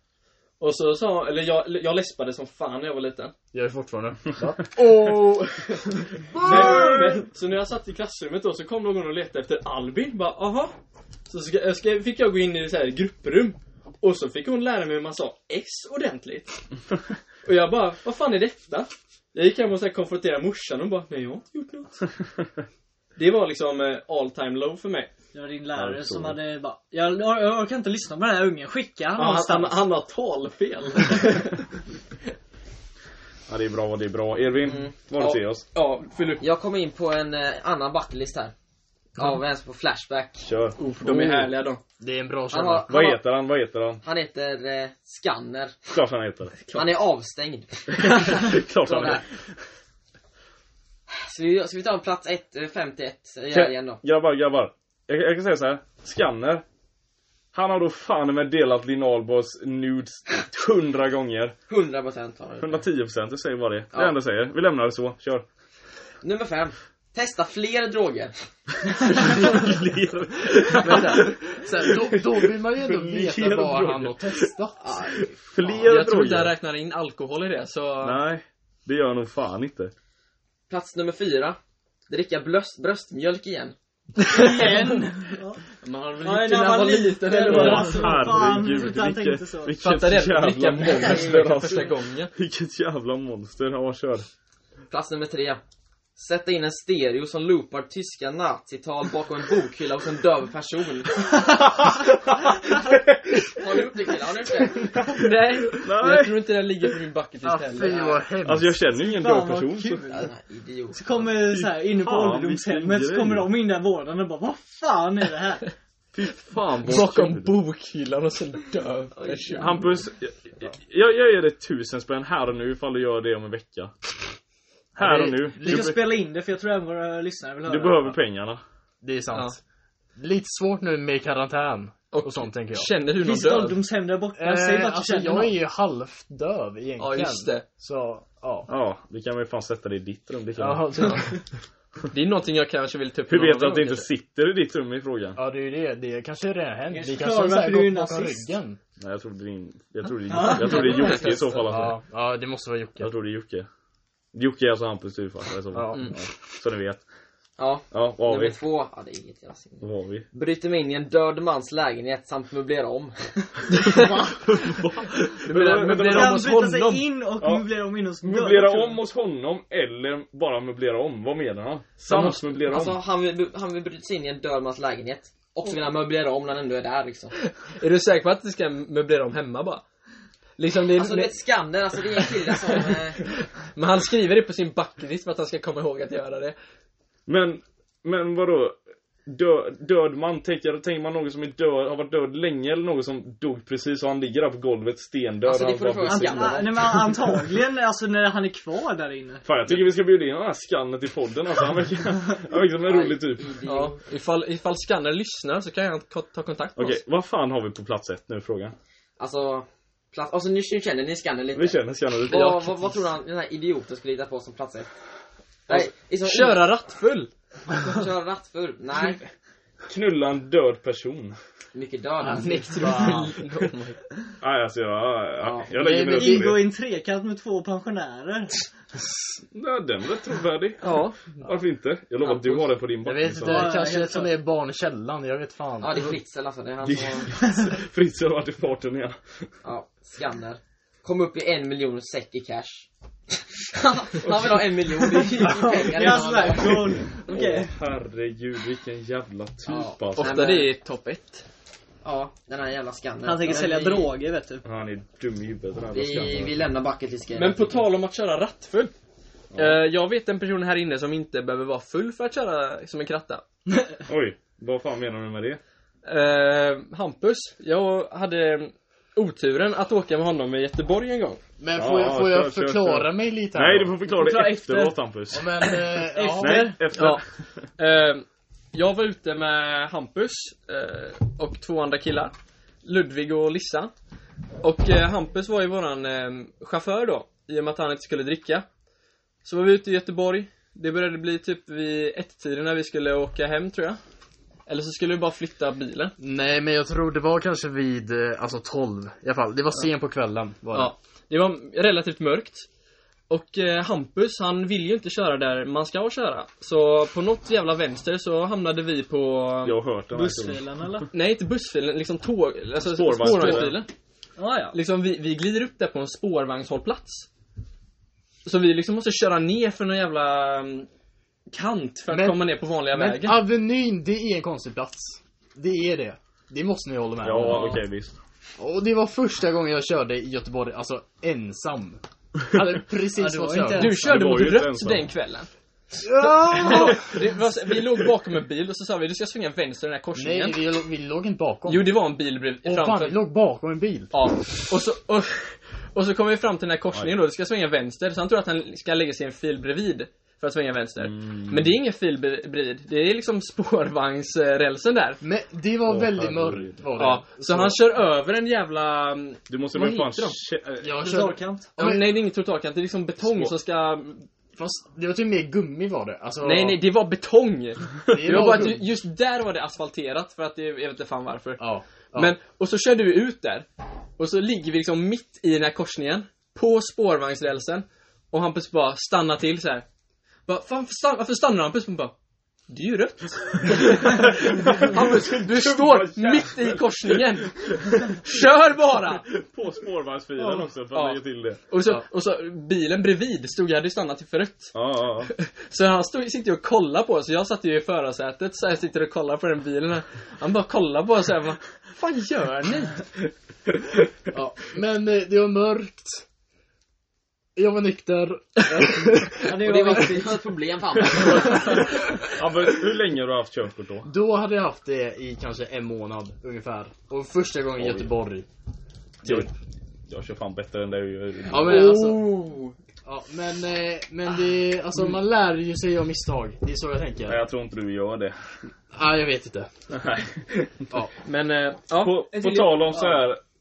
[SPEAKER 4] Och så sa hon, eller jag, jag läspade som fan när jag var liten.
[SPEAKER 5] Jag är fortfarande.
[SPEAKER 4] Och... men, men, så när jag satt i klassrummet då så kom någon och letade efter Albin. Bara, aha. Så ska, ska, fick jag gå in i så här grupprum. Och så fick hon lära mig hur man sa S ordentligt. Och jag bara, vad fan är detta? Jag gick hem och så här konfronterade morsan och bara, nej jag har inte gjort något. Det var liksom eh, all time low för mig.
[SPEAKER 2] Det var din
[SPEAKER 3] Ja,
[SPEAKER 2] lärare
[SPEAKER 3] jag
[SPEAKER 2] som
[SPEAKER 3] förstår
[SPEAKER 2] hade bara, jag, or- jag orkar inte lyssna på den här ungen, skicka han
[SPEAKER 4] Ja, han,
[SPEAKER 2] någonstans.
[SPEAKER 4] han, han har talfel.
[SPEAKER 3] Ja det är bra, det är bra. Edvin,
[SPEAKER 4] Mm.
[SPEAKER 3] var du
[SPEAKER 4] Ja.
[SPEAKER 3] ser oss.
[SPEAKER 4] ja, fyll upp.
[SPEAKER 1] Jag kom in på en eh, annan bucketlist här. Av en på Flashback.
[SPEAKER 3] Kör.
[SPEAKER 4] De
[SPEAKER 3] Oh.
[SPEAKER 4] är härliga de.
[SPEAKER 5] Det är en bra
[SPEAKER 1] Han,
[SPEAKER 5] kärna.
[SPEAKER 1] har, han,
[SPEAKER 3] Vad
[SPEAKER 1] har,
[SPEAKER 3] heter han, vad heter han?
[SPEAKER 1] han heter eh, Scanner.
[SPEAKER 3] Klart han heter.
[SPEAKER 1] Han är avstängd.
[SPEAKER 3] Klart
[SPEAKER 1] Så
[SPEAKER 3] han
[SPEAKER 1] där.
[SPEAKER 3] heter.
[SPEAKER 1] Ska vi, ska vi ta en plats 1, 51? Ja, eh, igen då.
[SPEAKER 3] Grabbar, grabbar. Jag, jag kan säga så här. Skanner. Han har då fan med delat Linn Ahlborgs nudes hundra gånger.
[SPEAKER 1] 100% har han.
[SPEAKER 3] 110 procent, jag säger bara det. Det är
[SPEAKER 1] Ja.
[SPEAKER 3] det enda jag säger. Vi lämnar det så, kör.
[SPEAKER 1] Nummer 5. Testa fler droger.
[SPEAKER 5] Så här, då, då vill man ju ändå veta vad han har testat.
[SPEAKER 1] Ah,
[SPEAKER 3] Fler
[SPEAKER 4] Jag tror inte jag
[SPEAKER 3] droger.
[SPEAKER 4] räknar in alkohol i det så...
[SPEAKER 3] Nej, det gör han nog fan inte.
[SPEAKER 1] plats nummer 4. Dricka blöst, bröstmjölk igen.
[SPEAKER 4] Man har väl
[SPEAKER 2] Ja,
[SPEAKER 4] inte när man var liten eller
[SPEAKER 2] vad?
[SPEAKER 4] vad?
[SPEAKER 2] Alltså, fan,
[SPEAKER 3] Herregud,
[SPEAKER 2] sluta, han tänkte
[SPEAKER 3] vilket,
[SPEAKER 2] så.
[SPEAKER 3] vilket
[SPEAKER 4] Fatta det,
[SPEAKER 3] jävla
[SPEAKER 4] vilka
[SPEAKER 3] monster
[SPEAKER 4] monster
[SPEAKER 3] alltså.
[SPEAKER 4] första gången.
[SPEAKER 3] Vilket jävla monster, ja kör.
[SPEAKER 1] Plats nummer 3. Sätta in en stereo som loopar tyska nazital bakom en bokhylla hos en döv person. har du gjort det killar? Har ni gjort det?
[SPEAKER 4] Nej, jag
[SPEAKER 3] Nej!
[SPEAKER 4] tror inte den ligger på min bucket list heller.
[SPEAKER 5] Fy vad hemskt.
[SPEAKER 3] Alltså jag känner ju ingen
[SPEAKER 2] Fan,
[SPEAKER 3] död
[SPEAKER 2] vad
[SPEAKER 3] person. Så.
[SPEAKER 2] kul.
[SPEAKER 1] Ja, den här idiot.
[SPEAKER 2] Så kommer så här, inne på
[SPEAKER 3] Fan,
[SPEAKER 2] ålderdomshemmet
[SPEAKER 3] vilken
[SPEAKER 2] så kommer
[SPEAKER 3] grej.
[SPEAKER 2] de in där vårdaren och bara Vad fan är det här?
[SPEAKER 3] Fy fan vad
[SPEAKER 4] Bakom
[SPEAKER 3] kul.
[SPEAKER 4] bokhyllan och sen dö person.
[SPEAKER 3] Hampus, jag, jag, jag ger dig tusen spänn här och nu ifall du gör det om en vecka. Här och nu.
[SPEAKER 2] Vi ska
[SPEAKER 3] Du,
[SPEAKER 2] spela in det för jag tror även våra lyssnare vill höra.
[SPEAKER 3] du behöver pengarna.
[SPEAKER 5] Det är sant. Lite svårt nu med karantän och, sånt tänker jag.
[SPEAKER 4] Känner du någon
[SPEAKER 2] Finns det
[SPEAKER 4] död?
[SPEAKER 2] ålderdomshem där borta? Säg vart
[SPEAKER 5] Eh,
[SPEAKER 2] du
[SPEAKER 5] alltså
[SPEAKER 2] känner
[SPEAKER 5] jag är
[SPEAKER 2] någon.
[SPEAKER 5] ju halvdöv egentligen.
[SPEAKER 4] Ja just det.
[SPEAKER 5] Så, ja. alltså,
[SPEAKER 3] Ja, det kan vi fan sätta det i ditt rum. Det kan vi.
[SPEAKER 5] Ja, så,
[SPEAKER 4] Det är någonting jag kanske vill ta upp
[SPEAKER 3] Hur
[SPEAKER 4] med
[SPEAKER 3] vet du
[SPEAKER 4] någon
[SPEAKER 3] att det
[SPEAKER 4] annan
[SPEAKER 3] inte sitter i ditt rum i frågan?
[SPEAKER 5] ja, det är ju det. Det kanske redan har hänt.
[SPEAKER 2] Kanske
[SPEAKER 5] Vi
[SPEAKER 2] förklarar
[SPEAKER 5] kanske har så här
[SPEAKER 2] varför du är
[SPEAKER 5] gått bakom
[SPEAKER 2] nazist.
[SPEAKER 5] ryggen.
[SPEAKER 3] Nej, jag tror det är din... Jag tror det är, jag tror det är Jocke i så fall alltså.
[SPEAKER 5] Ja, ja, det måste vara Jocke.
[SPEAKER 3] Jag tror det är Jocke. Jocke är alltså Hampus styvfarsa i så fall.
[SPEAKER 5] Ja.
[SPEAKER 3] Ja. Så ni vet.
[SPEAKER 1] Ja,
[SPEAKER 3] Ja, vad har
[SPEAKER 1] nummer
[SPEAKER 3] vi?
[SPEAKER 1] två. Ja, det är inget jävla sinne.
[SPEAKER 3] Vad har vi?
[SPEAKER 1] Bryter mig in i en död mans lägenhet samt möblerar om.
[SPEAKER 5] Möblera möblera om
[SPEAKER 2] Kan
[SPEAKER 5] hos
[SPEAKER 2] bryta
[SPEAKER 5] honom.
[SPEAKER 2] sig in och
[SPEAKER 3] Ja.
[SPEAKER 2] möblera om inne hos en död
[SPEAKER 3] Möblera
[SPEAKER 2] person.
[SPEAKER 3] om hos honom eller bara möblera om? Vad menar han?
[SPEAKER 1] Han
[SPEAKER 3] Samt möblera
[SPEAKER 1] Alltså
[SPEAKER 3] om?
[SPEAKER 1] han vill, han vill bryta sig in i en död mans lägenhet. Och så vill han möblera om när han ändå är där liksom.
[SPEAKER 4] Är du säker på att du ska möblera om hemma bara? Liksom det är,
[SPEAKER 1] Alltså det är ett skander, alltså det är en kille som... Eh,
[SPEAKER 4] Men han skriver det på sin bucketlist för att han ska komma ihåg att göra det.
[SPEAKER 3] Men, men vadå? Dö, död man, tänker, tänker man någon som är död, har varit död länge eller någon som dog precis och han ligger där på golvet stendöd
[SPEAKER 1] Alltså, det
[SPEAKER 3] och
[SPEAKER 1] får
[SPEAKER 3] han
[SPEAKER 1] du
[SPEAKER 3] bara
[SPEAKER 1] fråga
[SPEAKER 3] blir
[SPEAKER 2] Ant-
[SPEAKER 1] Skanner.
[SPEAKER 3] singel.
[SPEAKER 2] nej, men antagligen alltså när han är kvar där inne.
[SPEAKER 3] Fan jag tycker vi ska bjuda in den här skannen till podden alltså, han verkar, han verkar som en rolig typ
[SPEAKER 4] Ja, ifall, ifall Skanner lyssnar så kan han ko- ta kontakt med
[SPEAKER 3] Okej,
[SPEAKER 4] oss.
[SPEAKER 3] vad fan har vi på plats ett nu frågan?
[SPEAKER 1] Alltså... Plats, alltså nu känner ni skander lite.
[SPEAKER 3] Vi känner skannen lite
[SPEAKER 1] Vad, vad, vad tror han den här idioten skulle hitta på som plats ett? Nej, liksom,
[SPEAKER 4] Köra rattfull!
[SPEAKER 1] Köra rattfull? Nej.
[SPEAKER 3] Knulla en död person
[SPEAKER 1] Mycket död alltså.
[SPEAKER 3] Nej alltså jag, jag, jag
[SPEAKER 5] Det-
[SPEAKER 3] lägger mig
[SPEAKER 5] det
[SPEAKER 3] upp
[SPEAKER 2] Ingå
[SPEAKER 3] med
[SPEAKER 2] i en trekant med två pensionärer.
[SPEAKER 3] Nej den var trovärdig
[SPEAKER 4] Ja.
[SPEAKER 3] Varför inte? Jag lovar att du har den på din
[SPEAKER 5] Jag
[SPEAKER 3] backning
[SPEAKER 5] vet
[SPEAKER 3] så-
[SPEAKER 5] inte,
[SPEAKER 2] Ja,
[SPEAKER 5] kanske
[SPEAKER 2] helt
[SPEAKER 5] som är barn i källaren, jag vet fan.
[SPEAKER 1] Ja det är Fritzl alltså, det är han
[SPEAKER 3] Det-
[SPEAKER 1] som...
[SPEAKER 3] Fritz har varit i farten igen
[SPEAKER 1] Ja, skanner. Kom upp i en miljon säck i cash. han vill ha en miljon, det är ju pengar.
[SPEAKER 2] Ja, sådär, från... Okej.
[SPEAKER 3] Åh, herregud, vilken jävla typ
[SPEAKER 1] Ja.
[SPEAKER 3] alltså.
[SPEAKER 4] Ofta det är topp ett.
[SPEAKER 1] Ja, den här jävla skannern.
[SPEAKER 2] Han tänker
[SPEAKER 1] Ja,
[SPEAKER 2] sälja
[SPEAKER 1] vi,
[SPEAKER 2] droger vet du.
[SPEAKER 3] Han är dum i huvudet den här jävla
[SPEAKER 1] Vi,
[SPEAKER 3] skallen.
[SPEAKER 1] vi lämnar bucket till
[SPEAKER 6] Men på tal om att köra rattfull.
[SPEAKER 4] Eh, jag vet en person här inne som inte behöver vara full för att köra som en kratta.
[SPEAKER 3] Oj, vad fan menar du med det?
[SPEAKER 4] Eh, Hampus, jag hade oturen att åka med honom i Göteborg en gång.
[SPEAKER 5] Men
[SPEAKER 3] Ja,
[SPEAKER 5] får jag, får jag
[SPEAKER 3] kör, kör,
[SPEAKER 5] förklara
[SPEAKER 3] kör.
[SPEAKER 5] mig lite här
[SPEAKER 3] Nej,
[SPEAKER 5] då?
[SPEAKER 3] du får förklara
[SPEAKER 4] Förklara
[SPEAKER 3] det
[SPEAKER 4] efter.
[SPEAKER 3] efteråt Hampus
[SPEAKER 5] Ja, Men, eh, ja.
[SPEAKER 3] Nej, efter
[SPEAKER 4] Ja. Eh, jag var ute med Hampus eh, och två andra killar. Ludvig och Lissa. Och eh, Hampus var ju våran eh, chaufför då, i och med att han inte skulle dricka. Så var vi ute i Göteborg. Det började bli typ vid ett-tiden när vi skulle åka hem tror jag. Eller så skulle vi bara flytta bilen.
[SPEAKER 5] Nej, men jag tror det var kanske vid, eh, alltså 12 i alla fall. Det var sent på kvällen. Var det.
[SPEAKER 4] Ja, det var relativt mörkt. Och eh, Hampus, han vill ju inte köra där man ska köra. Så på något jävla vänster så hamnade vi på...
[SPEAKER 3] Jag har hört den här historien.
[SPEAKER 2] Bussfilen eller?
[SPEAKER 4] Nej, inte bussfilen, liksom tåg... Alltså
[SPEAKER 3] Spårvagn.
[SPEAKER 4] spårvagnsfilen.
[SPEAKER 2] Ja, ja.
[SPEAKER 4] Liksom vi, vi glider upp där på en spårvagnshållplats. Så vi liksom måste köra ner för någon jävla mm, kant för att
[SPEAKER 5] Men-
[SPEAKER 4] komma ner på vanliga
[SPEAKER 5] Men
[SPEAKER 4] vägen.
[SPEAKER 5] Avenyn, det är en konstig plats. Det är det. Det måste ni hålla med om.
[SPEAKER 3] Ja, okej visst
[SPEAKER 5] Och det var första gången jag körde i Göteborg, alltså ensam. Jag hade
[SPEAKER 2] Ja,
[SPEAKER 5] precis
[SPEAKER 2] det var
[SPEAKER 5] fått
[SPEAKER 2] inte
[SPEAKER 5] köra.
[SPEAKER 4] Du körde
[SPEAKER 3] var
[SPEAKER 4] mot
[SPEAKER 3] ju inte
[SPEAKER 4] rött
[SPEAKER 3] ensam.
[SPEAKER 4] den kvällen.
[SPEAKER 5] Ja!
[SPEAKER 4] Det var, vi låg bakom en bil och så sa vi du ska svänga vänster i den här korsningen.
[SPEAKER 5] Nej, vi, låg- vi låg inte bakom.
[SPEAKER 4] Jo, det var en bil bredvid,
[SPEAKER 5] Åh fan, vi
[SPEAKER 4] framför.
[SPEAKER 5] låg bakom en bil.
[SPEAKER 4] Ja. Och så, och, och så kommer vi fram till den här korsningen då, det ska svänga vänster. Så han tror att han ska lägga sig i en fil bredvid för att svänga vänster.
[SPEAKER 3] Mm.
[SPEAKER 4] Men det
[SPEAKER 5] Mm.
[SPEAKER 4] är ingen fil bre- bredvid, det är liksom spårvagnsrälsen där.
[SPEAKER 5] Men det var
[SPEAKER 3] Åh,
[SPEAKER 5] väldigt
[SPEAKER 3] herregud.
[SPEAKER 5] mörkt var det.
[SPEAKER 4] Ja, så han kör över en jävla... mm,
[SPEAKER 3] Du måste
[SPEAKER 4] Vad
[SPEAKER 3] väl fan
[SPEAKER 4] heter de?
[SPEAKER 3] kä-
[SPEAKER 5] Jag körde,
[SPEAKER 2] Trottoarkant.
[SPEAKER 5] Ja,
[SPEAKER 4] Ja,
[SPEAKER 5] men-
[SPEAKER 4] nej, det är inget trottoarkant, det är liksom betong
[SPEAKER 3] Spår.
[SPEAKER 4] som ska...
[SPEAKER 5] fast det var typ mer gummi var det. Alltså,
[SPEAKER 4] Nej, nej, det var betong!
[SPEAKER 5] det,
[SPEAKER 4] Det var bara att ju-
[SPEAKER 5] gummi.
[SPEAKER 4] just där var det asfalterat för att det, jag vet inte fan varför.
[SPEAKER 5] Ja. ja.
[SPEAKER 4] Men, och så körde vi ut där. Och så ligger vi liksom mitt i den här korsningen. På spårvagnsrälsen. Och Hampus bara stannar till så här. Bara, fan, stann, varför stannar Hampus? Och bara, det är ju rött. Hampus, du står mitt i korsningen. Kör bara!
[SPEAKER 3] På spårvagnsfilen också för att
[SPEAKER 4] Ja.
[SPEAKER 3] lägga till det
[SPEAKER 4] Och så, och så bilen bredvid stod, jag hade ju stannat till för rött.
[SPEAKER 3] Ja, ja, ja.
[SPEAKER 4] Så han stod, sitter ju och kollar på oss. Jag satt ju i förarsätet så jag sitter och kollar på den bilen. Han bara kollar på oss och bara, vad fan gör ni?
[SPEAKER 5] ja. men eh, det var mörkt. Jag var nykter.
[SPEAKER 2] Ja,
[SPEAKER 1] Och det var
[SPEAKER 2] var-
[SPEAKER 1] också ett problem för andra.
[SPEAKER 3] Ja, men hur länge har du haft körkort då?
[SPEAKER 5] Då hade jag haft det i kanske en månad ungefär. Och första gången i
[SPEAKER 3] Oj.
[SPEAKER 5] Göteborg.
[SPEAKER 3] Jag, jag kör fan bättre än dig.
[SPEAKER 5] Ja men alltså. Ja, men, eh, men det, alltså man lär ju sig av misstag. Det är så jag tänker.
[SPEAKER 3] Nej, jag tror inte du gör det.
[SPEAKER 5] ah, jag vet inte.
[SPEAKER 3] Nej.
[SPEAKER 5] Ja.
[SPEAKER 4] Men, eh, ja.
[SPEAKER 3] På, på tal om så här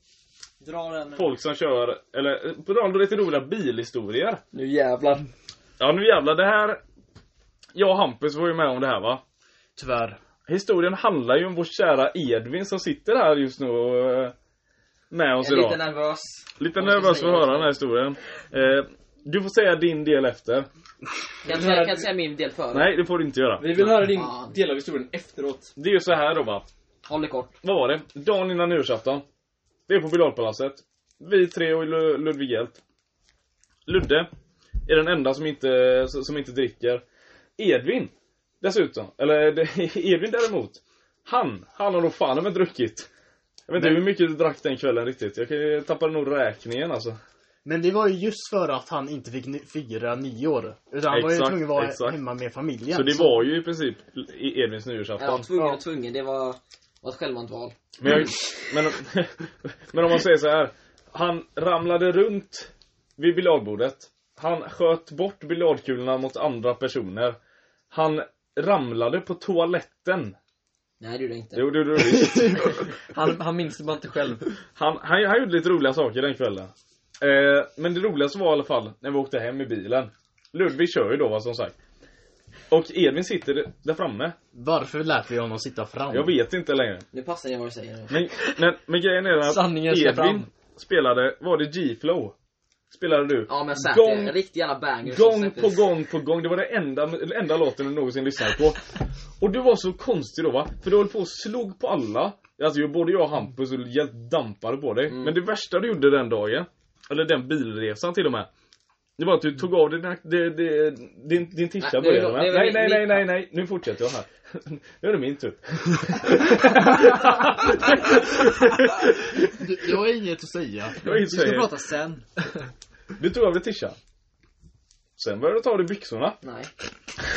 [SPEAKER 2] Dra den.
[SPEAKER 3] folk som kör, eller på tal om lite roliga bilhistorier.
[SPEAKER 1] Nu jävlar.
[SPEAKER 3] Ja nu jävlar, det här. Jag och Hampus var ju med om det här va?
[SPEAKER 5] Tyvärr.
[SPEAKER 3] Historien handlar ju om vår kära Edvin som sitter här just nu och eh, med oss
[SPEAKER 1] Jag är lite
[SPEAKER 3] idag.
[SPEAKER 1] nervös.
[SPEAKER 3] Lite
[SPEAKER 1] Jag måste
[SPEAKER 3] nervös för att
[SPEAKER 1] säga
[SPEAKER 3] höra den här historien. Eh, du får säga din del efter.
[SPEAKER 1] Kan jag säga, kan jag säga min del före?
[SPEAKER 3] Nej, det får du inte göra.
[SPEAKER 6] Vi vill höra din
[SPEAKER 1] Fan.
[SPEAKER 6] del av historien efteråt.
[SPEAKER 3] Det är ju så här då va.
[SPEAKER 1] Håll det kort.
[SPEAKER 3] Vad var det? Dagen innan nyårsafton. Det är på biljardpalatset. Vi tre och Lu- Ludvig Hjält. Ludde är den enda som inte, som inte dricker. Edvin dessutom, eller det- Edvin däremot. Han, han har nog fan inte druckit. Jag vet inte hur mycket du drack den kvällen riktigt. Jag kan- Jag tappade nog räkningen alltså.
[SPEAKER 5] Men det var ju just för att han inte fick ny- fira nyår. Utan han var ju
[SPEAKER 3] Exakt,
[SPEAKER 5] tvungen att vara
[SPEAKER 3] exakt.
[SPEAKER 5] hemma med familjen.
[SPEAKER 3] Så det var ju i princip Edvins nyårsafton.
[SPEAKER 1] Ja, tvungen och tvungen. Det var, var ett självmant val.
[SPEAKER 3] Men, jag, men, men om man säger så här. Han ramlade runt vid biljardbordet. Han sköt bort biljardkulorna mot andra personer. Han ramlade på toaletten.
[SPEAKER 1] Nej, det gjorde jag inte.
[SPEAKER 3] Jo, det gjorde du visst.
[SPEAKER 4] Han, han minns det bara inte själv.
[SPEAKER 3] Han, han, han gjorde lite roliga saker den kvällen. Eh, men det roligaste var i alla fall när vi åkte hem i bilen. Ludvig kör ju då, va, som sagt. Och Edvin sitter där framme.
[SPEAKER 5] Varför lät vi honom sitta fram?
[SPEAKER 3] Jag vet inte längre.
[SPEAKER 1] Nu passar jag vad du säger.
[SPEAKER 3] Men, men, men grejen är att
[SPEAKER 4] Sanningen ska
[SPEAKER 3] Edvin
[SPEAKER 4] fram.
[SPEAKER 3] spelade, var det G-Flow? Spelade du?
[SPEAKER 1] Ja, men säkert.
[SPEAKER 3] Gång-
[SPEAKER 1] Gång, riktig jävla banger. som
[SPEAKER 3] Gång på
[SPEAKER 1] släpptes.
[SPEAKER 3] gång på gång, det var den enda, den enda låten du någonsin lyssnade på. Och du var så konstig då va? För du höll på och slog på alla. Alltså ju både jag och Hampus och helt dampade på dig.
[SPEAKER 1] Mm.
[SPEAKER 3] Men det värsta du gjorde den dagen, eller den bilresan till och med. Det var att du tog av dig dina- det- det- din, din tisha
[SPEAKER 1] Nej,
[SPEAKER 3] på
[SPEAKER 1] det är-
[SPEAKER 3] ögonen.
[SPEAKER 1] det är väl
[SPEAKER 3] Nej, nej,
[SPEAKER 1] min-
[SPEAKER 3] nej, nej, nej. Nu fortsätter jag här. Nu är det min tur.
[SPEAKER 5] Du- Jag har inget att säga.
[SPEAKER 3] Jag
[SPEAKER 2] Vi ska
[SPEAKER 3] inser
[SPEAKER 2] prata sen.
[SPEAKER 3] Du tog av dig tishan. Sen började du ta av dig byxorna.
[SPEAKER 1] Nej.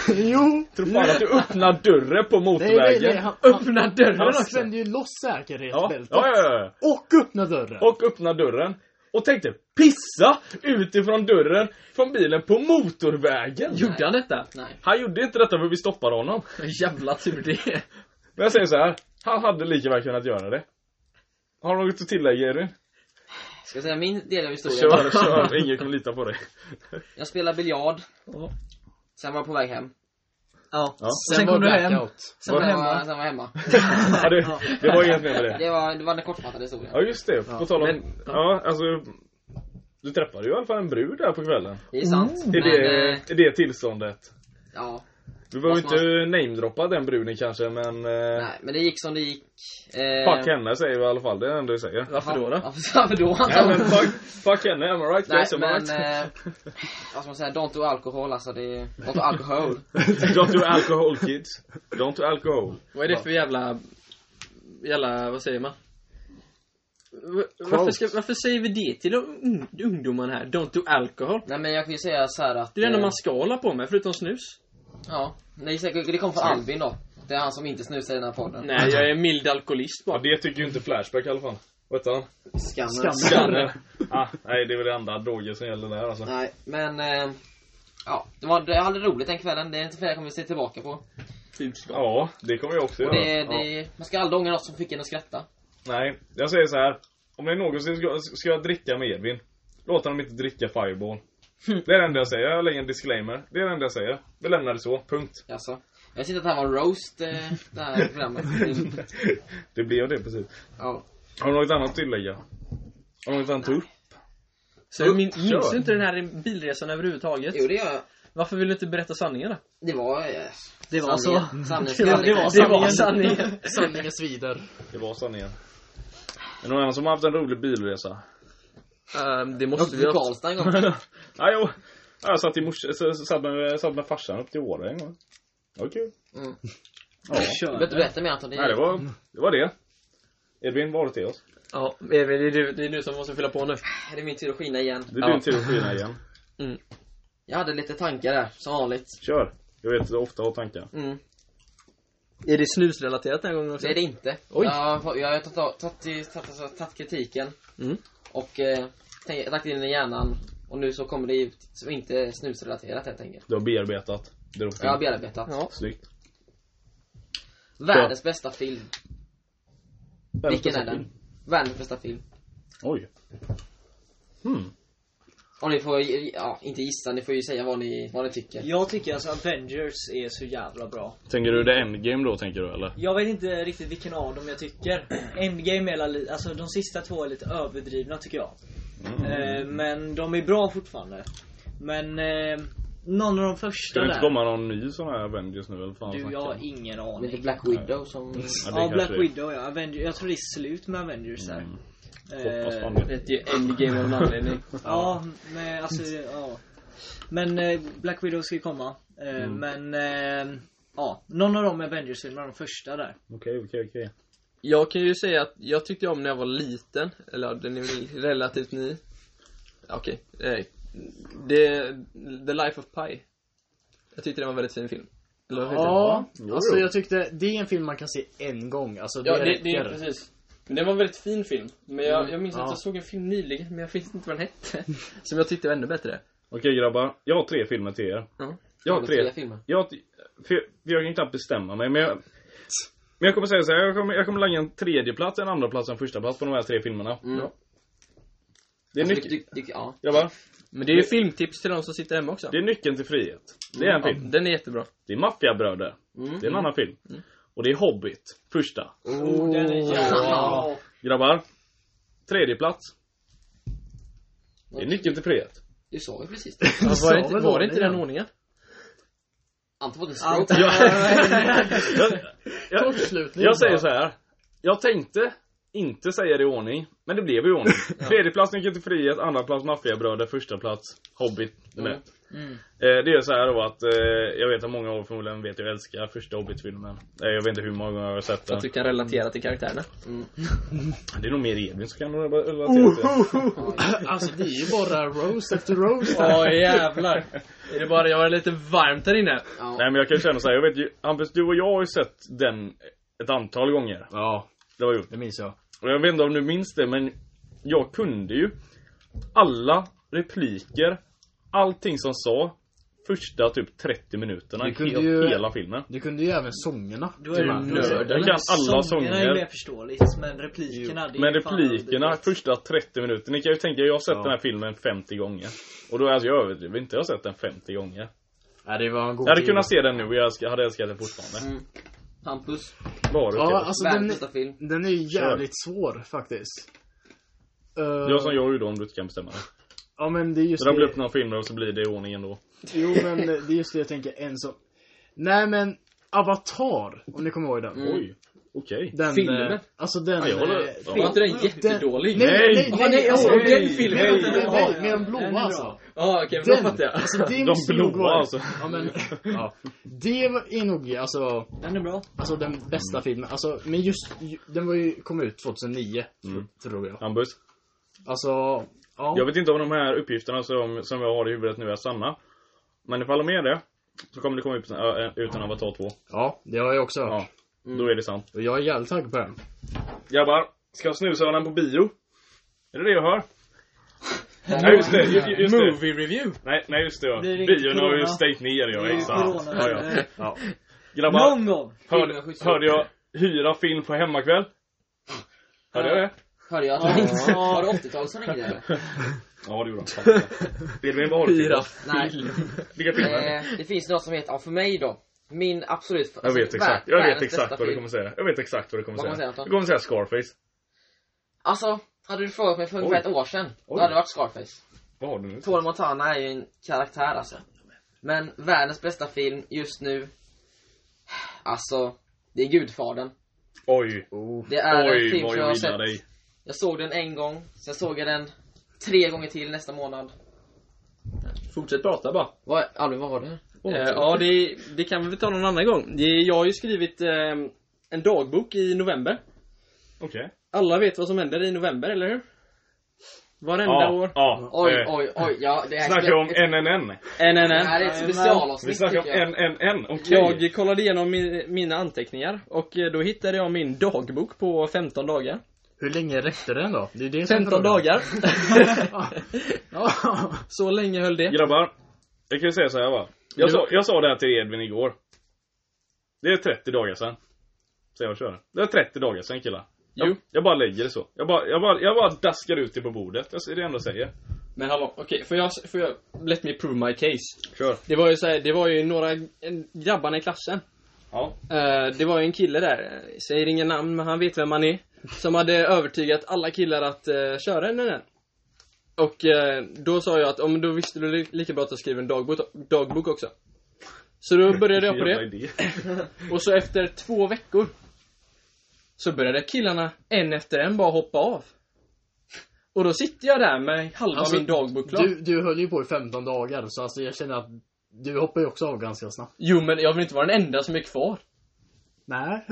[SPEAKER 5] jo!
[SPEAKER 3] Tror fan att du öppnar dörren på
[SPEAKER 5] Nej, nej, nej.
[SPEAKER 3] motorvägen.
[SPEAKER 5] Han, han,
[SPEAKER 4] Öppna dörren
[SPEAKER 5] han
[SPEAKER 4] också!
[SPEAKER 5] spände ju loss
[SPEAKER 3] Ja, ja,
[SPEAKER 5] säkerhetsbältet.
[SPEAKER 3] ja, ja.
[SPEAKER 5] Och öppna dörren.
[SPEAKER 3] och öppnar dörren och tänkte pissa utifrån dörren från bilen på motorvägen.
[SPEAKER 4] Gjorde han detta?
[SPEAKER 1] Nej.
[SPEAKER 3] Han gjorde inte detta för vi stoppade honom.
[SPEAKER 4] Jävla tur det.
[SPEAKER 3] Men jag säger så här, han hade lika väl kunnat göra det. Har du något att tillägga Edvin?
[SPEAKER 1] Ska jag säga min del av historien?
[SPEAKER 3] Kör, kör, ingen kommer lita på dig.
[SPEAKER 1] Jag spelade biljard. Sen var jag på väg hem.
[SPEAKER 2] Ja.
[SPEAKER 3] Ja.
[SPEAKER 5] Sen,
[SPEAKER 2] Sen
[SPEAKER 5] var
[SPEAKER 2] kom du
[SPEAKER 5] det
[SPEAKER 2] hem.
[SPEAKER 5] blackout.
[SPEAKER 2] Sen var du
[SPEAKER 1] Sen var,
[SPEAKER 2] hemma.
[SPEAKER 1] sen var jag hemma.
[SPEAKER 3] Ja, det, det var inget mer med det.
[SPEAKER 1] Det var, det var den kortfattade historien.
[SPEAKER 3] Ja just det, på tal om,
[SPEAKER 4] Men-
[SPEAKER 3] ja alltså. Du träffade ju i alla fall en brud där på kvällen.
[SPEAKER 1] Det är sant.
[SPEAKER 3] I
[SPEAKER 1] Men, eh,
[SPEAKER 3] Mm. det, i det tillståndet.
[SPEAKER 1] ja.
[SPEAKER 3] Du behöver
[SPEAKER 1] Måste
[SPEAKER 3] inte namedroppa den bruden kanske men... Eh,
[SPEAKER 1] Nej, men det gick som det gick. Eh,
[SPEAKER 3] fuck henne säger vi i alla fall, det är det enda vi säger.
[SPEAKER 4] Varför då? då?
[SPEAKER 1] Varför varför då?
[SPEAKER 3] Ja men fuck, fuck henne, am I right?
[SPEAKER 1] Nej,
[SPEAKER 3] guys, am I
[SPEAKER 1] men...
[SPEAKER 3] right?
[SPEAKER 1] Eh, vad ska man säga? Don't do alcohol alltså. Det är, don't do alcohol.
[SPEAKER 3] Don't do alcohol kids. Don't do alcohol.
[SPEAKER 4] Vad är det för jävla... Jävla, vad säger man? Va- Varför,
[SPEAKER 5] Quote.
[SPEAKER 4] ska, varför säger vi det till de un- ungdomarna här? Don't do alcohol.
[SPEAKER 1] Nej men jag kan ju säga så här att...
[SPEAKER 4] Det är det enda
[SPEAKER 1] eh,
[SPEAKER 4] man ska hålla på med, förutom snus.
[SPEAKER 1] Ja. Det, är säkert, det kom från Albin då. Det är han som inte snusar i den här podden.
[SPEAKER 4] Nej, jag är en mild alkoholist
[SPEAKER 3] Ja,
[SPEAKER 4] bara.
[SPEAKER 3] det tycker ju inte Flashback i alla fall. Vet han?
[SPEAKER 1] Skammen.
[SPEAKER 3] Skanner. Ah, nej, det är väl det andra droger som gäller där alltså.
[SPEAKER 1] Nej, men... Eh, ja, det var, jag hade roligt den kvällen. Det är inte fel jag kommer se tillbaka på.
[SPEAKER 4] Budskap.
[SPEAKER 3] Ja, det kommer jag också göra.
[SPEAKER 1] Det,
[SPEAKER 3] Ja.
[SPEAKER 1] det, man ska aldrig ångra något som fick en att skratta.
[SPEAKER 3] Nej, jag säger så här. Om ni någonsin ska, ska jag dricka med Edvin, låt honom inte dricka Fireball.
[SPEAKER 1] Hm.
[SPEAKER 3] Det är det enda jag säger, jag lägger en disclaimer. Det är det enda jag säger. Vi lämnar det så, punkt.
[SPEAKER 1] Alltså. Jag visste inte att det här var roast, eh, det här programmet. Det-
[SPEAKER 3] Det blev det precis.
[SPEAKER 1] Ja.
[SPEAKER 3] Har du något annat att tillägga? Har du något annat att ta upp?
[SPEAKER 4] Så du min,
[SPEAKER 3] Upp,
[SPEAKER 4] minns
[SPEAKER 3] kör.
[SPEAKER 4] du inte den här bilresan överhuvudtaget?
[SPEAKER 1] Jo, det gör jag.
[SPEAKER 4] Varför vill du inte berätta sanningen då?
[SPEAKER 1] Det var... Eh,
[SPEAKER 2] Det var så.
[SPEAKER 1] sanningen- sanningen
[SPEAKER 2] Det
[SPEAKER 1] ska
[SPEAKER 2] var, det
[SPEAKER 1] aldrig-
[SPEAKER 2] var
[SPEAKER 4] Det var
[SPEAKER 2] sanningen.
[SPEAKER 4] sanningen.
[SPEAKER 5] Sanningen svider.
[SPEAKER 3] Det var sanningen. Är det någon annan som har haft en rolig bilresa?
[SPEAKER 4] Ehm, det
[SPEAKER 1] Jag åkte
[SPEAKER 4] måste vi
[SPEAKER 1] till
[SPEAKER 4] ha.
[SPEAKER 1] Karlstad en gång.
[SPEAKER 3] Nej, jo. Ja, Jag satt, i mors, så- så- satt, med, satt med farsan upp till Åre en gång. Det var kul.
[SPEAKER 1] Mm.
[SPEAKER 3] Ja.
[SPEAKER 1] Du behöver inte berätta mer Anton. Det
[SPEAKER 3] Nej, det var det. Var det. Edvin, vad har du till oss?
[SPEAKER 4] Ja, Emil, det är du, det är du som måste fylla på nu.
[SPEAKER 1] det är min tur att skina igen.
[SPEAKER 3] Det är
[SPEAKER 4] Ja.
[SPEAKER 3] din tur att skina igen.
[SPEAKER 4] Mm.
[SPEAKER 1] Jag hade lite tankar där, som vanligt.
[SPEAKER 3] Kör! Jag vet att du ofta har tankar.
[SPEAKER 1] Mm.
[SPEAKER 4] Är det snusrelaterat den här gången också?
[SPEAKER 1] Det är det inte.
[SPEAKER 4] Oj.
[SPEAKER 1] Jag har, jag har tagit, av- tagit, tagit, tagit, tagit kritiken
[SPEAKER 4] Mm.
[SPEAKER 1] och eh, tänk- lagt in den i hjärnan. Och nu så kommer det ut som inte är snusrelaterat helt enkelt.
[SPEAKER 3] Du har bearbetat. Det
[SPEAKER 1] Jag har bearbetat.
[SPEAKER 4] Ja.
[SPEAKER 3] Snyggt.
[SPEAKER 1] Världens bästa film. Vilken är
[SPEAKER 3] Världens bästa
[SPEAKER 1] den?
[SPEAKER 3] film.
[SPEAKER 1] Världens bästa film.
[SPEAKER 3] Oj. Hmm.
[SPEAKER 1] Och ni får, ja, inte gissa, ni får ju säga vad ni, vad ni tycker.
[SPEAKER 2] Jag tycker alltså Avengers är så jävla bra.
[SPEAKER 3] Tänker du det endgame då, tänker du eller?
[SPEAKER 2] Jag vet inte riktigt vilken av dem jag tycker. Endgame är alla li- alltså de sista två är lite överdrivna tycker jag. Eh, men de är bra fortfarande. Men eh, någon av de första
[SPEAKER 3] Ska det inte
[SPEAKER 2] där.
[SPEAKER 3] komma någon ny sån här Avengers nu eller fan
[SPEAKER 2] Du,
[SPEAKER 3] snackar
[SPEAKER 2] jag har
[SPEAKER 3] om?
[SPEAKER 2] ingen
[SPEAKER 1] Det är
[SPEAKER 2] aning.
[SPEAKER 1] inte Black Widow som...
[SPEAKER 3] Ja, det
[SPEAKER 2] Ja, Black
[SPEAKER 3] kanske är-
[SPEAKER 2] Widow ja. Avenger, jag tror det är slut med Avengers där.
[SPEAKER 3] Mm.
[SPEAKER 2] Eh,
[SPEAKER 3] Hoppas fan det.
[SPEAKER 4] Det är ju endgame av en anledning.
[SPEAKER 2] Ja, men alltså, ja. Men eh, Black Widow ska ju komma. Eh,
[SPEAKER 3] Mm.
[SPEAKER 2] Men, eh, ja. Någon av de Avengers-filmerna, de första där.
[SPEAKER 3] Okej, okej, okej.
[SPEAKER 4] Jag kan ju säga att jag tyckte om när jag var liten. Eller ja, den är väl relativt ny. Okej. eh, Det, The Life of Pi. Jag tyckte det var en väldigt fin film. Eller vad heter
[SPEAKER 5] Ja,
[SPEAKER 3] Jo,
[SPEAKER 5] alltså
[SPEAKER 3] jo.
[SPEAKER 5] jag tyckte det är en film man kan se en gång. Alltså det,
[SPEAKER 6] Ja, det, det är
[SPEAKER 5] räcker.
[SPEAKER 6] precis. Men det var en väldigt fin film. Men
[SPEAKER 4] Mm,
[SPEAKER 6] jag, jag minns
[SPEAKER 5] ja.
[SPEAKER 6] att jag såg en film nyligen, men jag minns inte vad den hette.
[SPEAKER 4] det? Som jag tyckte var ännu bättre.
[SPEAKER 3] Okej grabbar, jag har tre filmer till er.
[SPEAKER 4] Ja.
[SPEAKER 3] Jag har
[SPEAKER 1] Eller
[SPEAKER 3] tre.
[SPEAKER 1] filmer.
[SPEAKER 3] Jag, har t- för jag, för jag kan knappt bestämma mig men jag... Men jag kommer säga så här, jag kommer, jag kommer lägga en tredje plats, en andra plats och en första plats på de här tre filmerna.
[SPEAKER 1] Mm.
[SPEAKER 4] Ja.
[SPEAKER 3] Det är,
[SPEAKER 1] Alltså,
[SPEAKER 3] nyc-
[SPEAKER 1] du, du, du, ja.
[SPEAKER 3] grabbar,
[SPEAKER 4] Men det är ju filmtips till de som sitter hemma också.
[SPEAKER 3] det är nyckeln till frihet. Det är en film.
[SPEAKER 4] Ja, den är jättebra.
[SPEAKER 3] Det är Maffiabröder. Det är en annan film. Och det är Hobbit, första.
[SPEAKER 2] Oh, den är jävla
[SPEAKER 3] Grabbar, tredje plats. Det är nyckeln till frihet.
[SPEAKER 1] Du sa ju precis det.
[SPEAKER 4] Ja, var
[SPEAKER 5] sa
[SPEAKER 4] det inte,
[SPEAKER 5] väl
[SPEAKER 4] var det inte
[SPEAKER 5] ordningen.
[SPEAKER 4] den ordningen?
[SPEAKER 1] Anton fått en
[SPEAKER 2] Allt
[SPEAKER 1] stroke.
[SPEAKER 3] Jag, jag,
[SPEAKER 5] Kortslutning.
[SPEAKER 3] jag säger så här. Jag tänkte inte säga det i ordning, men det blev i ordning. Tredje plats Nyckeln till frihet, andra plats Maffiabröder, första plats Hobbit. Mm. Eh, det är så här då att eh, jag vet att många av er förmodligen vet att jag älskar första Hobbit-filmen. Eh, jag vet inte hur många gånger jag har sett den.
[SPEAKER 4] Att du kan relatera till karaktärerna.
[SPEAKER 3] Det är nog mer Edvin som kan rela- relatera till det.
[SPEAKER 5] Alltså det är ju bara roast efter roast. här.
[SPEAKER 4] Ja jävlar. Är det bara, jag har lite varmt här inne.
[SPEAKER 1] Ja.
[SPEAKER 3] Nej men jag kan känna så här, jag vet ju, Hampus du och jag har ju sett den ett antal gånger.
[SPEAKER 5] Ja,
[SPEAKER 3] Det har vi gjort.
[SPEAKER 5] det minns jag.
[SPEAKER 3] Och jag vet inte om du minns det men jag kunde ju alla repliker, allting som sa första typ 30 minuterna
[SPEAKER 5] Du kunde
[SPEAKER 3] helt,
[SPEAKER 5] ju-
[SPEAKER 3] hela filmen.
[SPEAKER 5] Du kunde ju även sångerna.
[SPEAKER 2] Då är
[SPEAKER 5] till
[SPEAKER 2] du
[SPEAKER 5] och med.
[SPEAKER 4] nörd.
[SPEAKER 3] Jag kan alla
[SPEAKER 2] Sångerna är ju mer
[SPEAKER 3] sånger.
[SPEAKER 2] förståeligt, men replikerna. det är
[SPEAKER 3] Men
[SPEAKER 2] ju fan
[SPEAKER 3] replikerna,
[SPEAKER 2] överdrivet.
[SPEAKER 3] första 30 minuter. Ni kan ju tänka, jag har sett
[SPEAKER 5] Ja.
[SPEAKER 3] den här filmen 50 gånger. Och då, alltså jag överdriver inte, jag har sett den 50 gånger.
[SPEAKER 5] Ja, det var en god
[SPEAKER 3] Jag hade
[SPEAKER 5] tid.
[SPEAKER 3] kunnat se den nu och jag älskar- hade älskat den fortfarande.
[SPEAKER 1] Hampus.
[SPEAKER 3] Bara
[SPEAKER 5] Mm. Ja,
[SPEAKER 3] ja,
[SPEAKER 5] alltså den,
[SPEAKER 1] Världens bästa film.
[SPEAKER 5] den är ju jävligt svår faktiskt. Uh,
[SPEAKER 3] Gör som jag gjorde om du inte kan bestämma dig.
[SPEAKER 5] Ja men det är just
[SPEAKER 3] Rabbla
[SPEAKER 5] det.
[SPEAKER 3] upp några filmer och så blir det i ordning ändå.
[SPEAKER 5] Jo men det är just det jag tänker en som. Nej men Avatar, om ni kommer ihåg den.
[SPEAKER 3] Oj, okej.
[SPEAKER 5] Den,
[SPEAKER 4] Filmen?
[SPEAKER 5] eh, Alltså den...
[SPEAKER 3] Mm. Ja, jag håller-
[SPEAKER 5] eh,
[SPEAKER 3] ja.
[SPEAKER 6] Var inte den
[SPEAKER 5] den-
[SPEAKER 6] jättedålig?
[SPEAKER 5] Nej, nej, nej,
[SPEAKER 3] Nej!
[SPEAKER 5] nej,
[SPEAKER 6] nej,
[SPEAKER 5] alltså,
[SPEAKER 6] åh, den
[SPEAKER 5] nej,
[SPEAKER 6] filmen.
[SPEAKER 5] nej,
[SPEAKER 6] Nej,
[SPEAKER 5] nej,
[SPEAKER 6] ja,
[SPEAKER 5] nej, med de
[SPEAKER 2] den är
[SPEAKER 5] blåa
[SPEAKER 2] bra.
[SPEAKER 5] alltså.
[SPEAKER 6] Ja, okej, men
[SPEAKER 5] Den,
[SPEAKER 6] då fattar jag.
[SPEAKER 5] alltså det
[SPEAKER 3] De
[SPEAKER 5] måste nog
[SPEAKER 3] blåa
[SPEAKER 5] vara-
[SPEAKER 3] alltså.
[SPEAKER 5] Ja men, ja. Det var- är nog alltså,
[SPEAKER 2] Den är bra.
[SPEAKER 5] alltså den bästa filmen. Alltså, men just, ju- den var ju, kom ut 2009,
[SPEAKER 3] Mm.
[SPEAKER 5] tror jag.
[SPEAKER 3] Hampus,
[SPEAKER 5] Alltså, ja.
[SPEAKER 3] jag vet inte om de här uppgifterna som, som jag har i huvudet nu är sanna. Men ifall de är det, så kommer det komma ut, äh, ut en Avatar 2.
[SPEAKER 5] Ja, det har jag också hört.
[SPEAKER 3] Ja, då är det sant.
[SPEAKER 5] Och jag är jävligt taggad på den.
[SPEAKER 3] Grabbar, ska snushörnan på bio? Är det det jag hör? Nej just det, ju- ju- just det.
[SPEAKER 4] Movie review.
[SPEAKER 3] Nej, nej just det ja.
[SPEAKER 2] Blir det inte
[SPEAKER 3] Bion har ju
[SPEAKER 2] corona?
[SPEAKER 3] stängt ner ja, exakt.
[SPEAKER 2] Corona.
[SPEAKER 3] Ja, ja.
[SPEAKER 2] eh,
[SPEAKER 3] Grabbar,
[SPEAKER 2] Någon gång!
[SPEAKER 3] hörde, hörde jag hyra film på hemmakväll? Hörde jag det?
[SPEAKER 1] Hörde jag att Var det 80-tal som ringde eller?
[SPEAKER 3] Ja det gjorde han. Fan. Edvin, vad har du
[SPEAKER 4] Hyra.
[SPEAKER 1] Nej.
[SPEAKER 3] Vilka filmer?
[SPEAKER 1] Eh, det finns något som heter, ja för mig då. Min absolut
[SPEAKER 3] Jag vet
[SPEAKER 1] alltså,
[SPEAKER 3] exakt,
[SPEAKER 1] vär-
[SPEAKER 3] jag vet
[SPEAKER 1] världens
[SPEAKER 3] exakt
[SPEAKER 1] bästa
[SPEAKER 3] vad du
[SPEAKER 1] film.
[SPEAKER 3] kommer säga. Jag vet exakt vad du kommer
[SPEAKER 1] Vad kommer
[SPEAKER 3] säga.
[SPEAKER 1] jag säga,
[SPEAKER 3] Du
[SPEAKER 1] Anton?
[SPEAKER 3] kommer säga Scarface.
[SPEAKER 1] Alltså, hade du frågat mig för ungefär ett år sedan, då
[SPEAKER 3] Oj.
[SPEAKER 1] hade det varit Scarface.
[SPEAKER 3] Vad har du nu?
[SPEAKER 1] Paul Montana är ju en karaktär alltså. Men världens bästa film just nu, alltså, det är Gudfadern.
[SPEAKER 3] Oj.
[SPEAKER 1] Det är en
[SPEAKER 3] Oj
[SPEAKER 1] film
[SPEAKER 3] vad
[SPEAKER 1] som jag
[SPEAKER 3] jag
[SPEAKER 1] har
[SPEAKER 3] gillar
[SPEAKER 1] sett
[SPEAKER 3] dig.
[SPEAKER 1] Jag såg den en gång, sen såg jag den tre gånger till nästa månad.
[SPEAKER 4] Fortsätt prata bara.
[SPEAKER 1] Vad, Albin, vad var det?
[SPEAKER 4] Eh, ja, det, det kan vi väl ta någon annan gång. Det, jag har ju skrivit eh, en dagbok i november.
[SPEAKER 3] Okej.
[SPEAKER 4] Alla vet vad som händer i november, eller hur? Varenda
[SPEAKER 3] Ja,
[SPEAKER 4] år.
[SPEAKER 3] ja.
[SPEAKER 1] Oj,
[SPEAKER 3] eh,
[SPEAKER 1] oj, oj, ja det här
[SPEAKER 3] Snacka om NNN.
[SPEAKER 1] Det
[SPEAKER 4] NNN.
[SPEAKER 1] här är ett
[SPEAKER 3] Vi
[SPEAKER 1] specialavsnitt
[SPEAKER 3] snackar om
[SPEAKER 1] tycker jag.
[SPEAKER 3] NNN. Okej.
[SPEAKER 4] Jag kollade igenom mi- mina anteckningar och eh, då hittade jag min dagbok på 15 dagar.
[SPEAKER 5] Hur länge räckte den då? Det är det som är
[SPEAKER 4] 15
[SPEAKER 5] frågan.
[SPEAKER 4] dagar.
[SPEAKER 5] Ja.
[SPEAKER 4] Så länge höll det.
[SPEAKER 3] Grabbar, jag kan ju säga så här va. Jag, sa, jag sa det här till Edvin igår. Det är 30 dagar sedan. Så jag kör. Det är 30 dagar sedan killar. Jag,
[SPEAKER 4] Jo.
[SPEAKER 3] jag bara lägger det så. Jag bara, jag bara, jag bara daskar ut det på bordet. Jag ser det enda jag säger.
[SPEAKER 4] Men hallå, okej, får jag, får jag, let me prove my case.
[SPEAKER 3] Kör.
[SPEAKER 4] Det var ju så här, det var ju några en- grabbarna i klassen.
[SPEAKER 3] Ja.
[SPEAKER 4] Eh, det var ju en kille där, eh, säger ingen namn men han vet vem han är. Som hade övertygat alla killar att eh, köra den där. Och eh, då sa jag att, om då visste du li- lika bra att jag skriver en dagbok, dagbok också. Så då började jag på
[SPEAKER 3] Jävla
[SPEAKER 4] det.
[SPEAKER 3] idé.
[SPEAKER 4] Och så efter två veckor så började killarna en efter en bara hoppa av. Och då sitter jag där med halva
[SPEAKER 5] Alltså,
[SPEAKER 4] min dagbok klar.
[SPEAKER 5] Du, du höll ju på i 15 dagar, så alltså jag känner att du hoppar ju också av ganska snabbt.
[SPEAKER 4] Jo men jag vill inte vara den enda som är kvar.
[SPEAKER 5] Nej.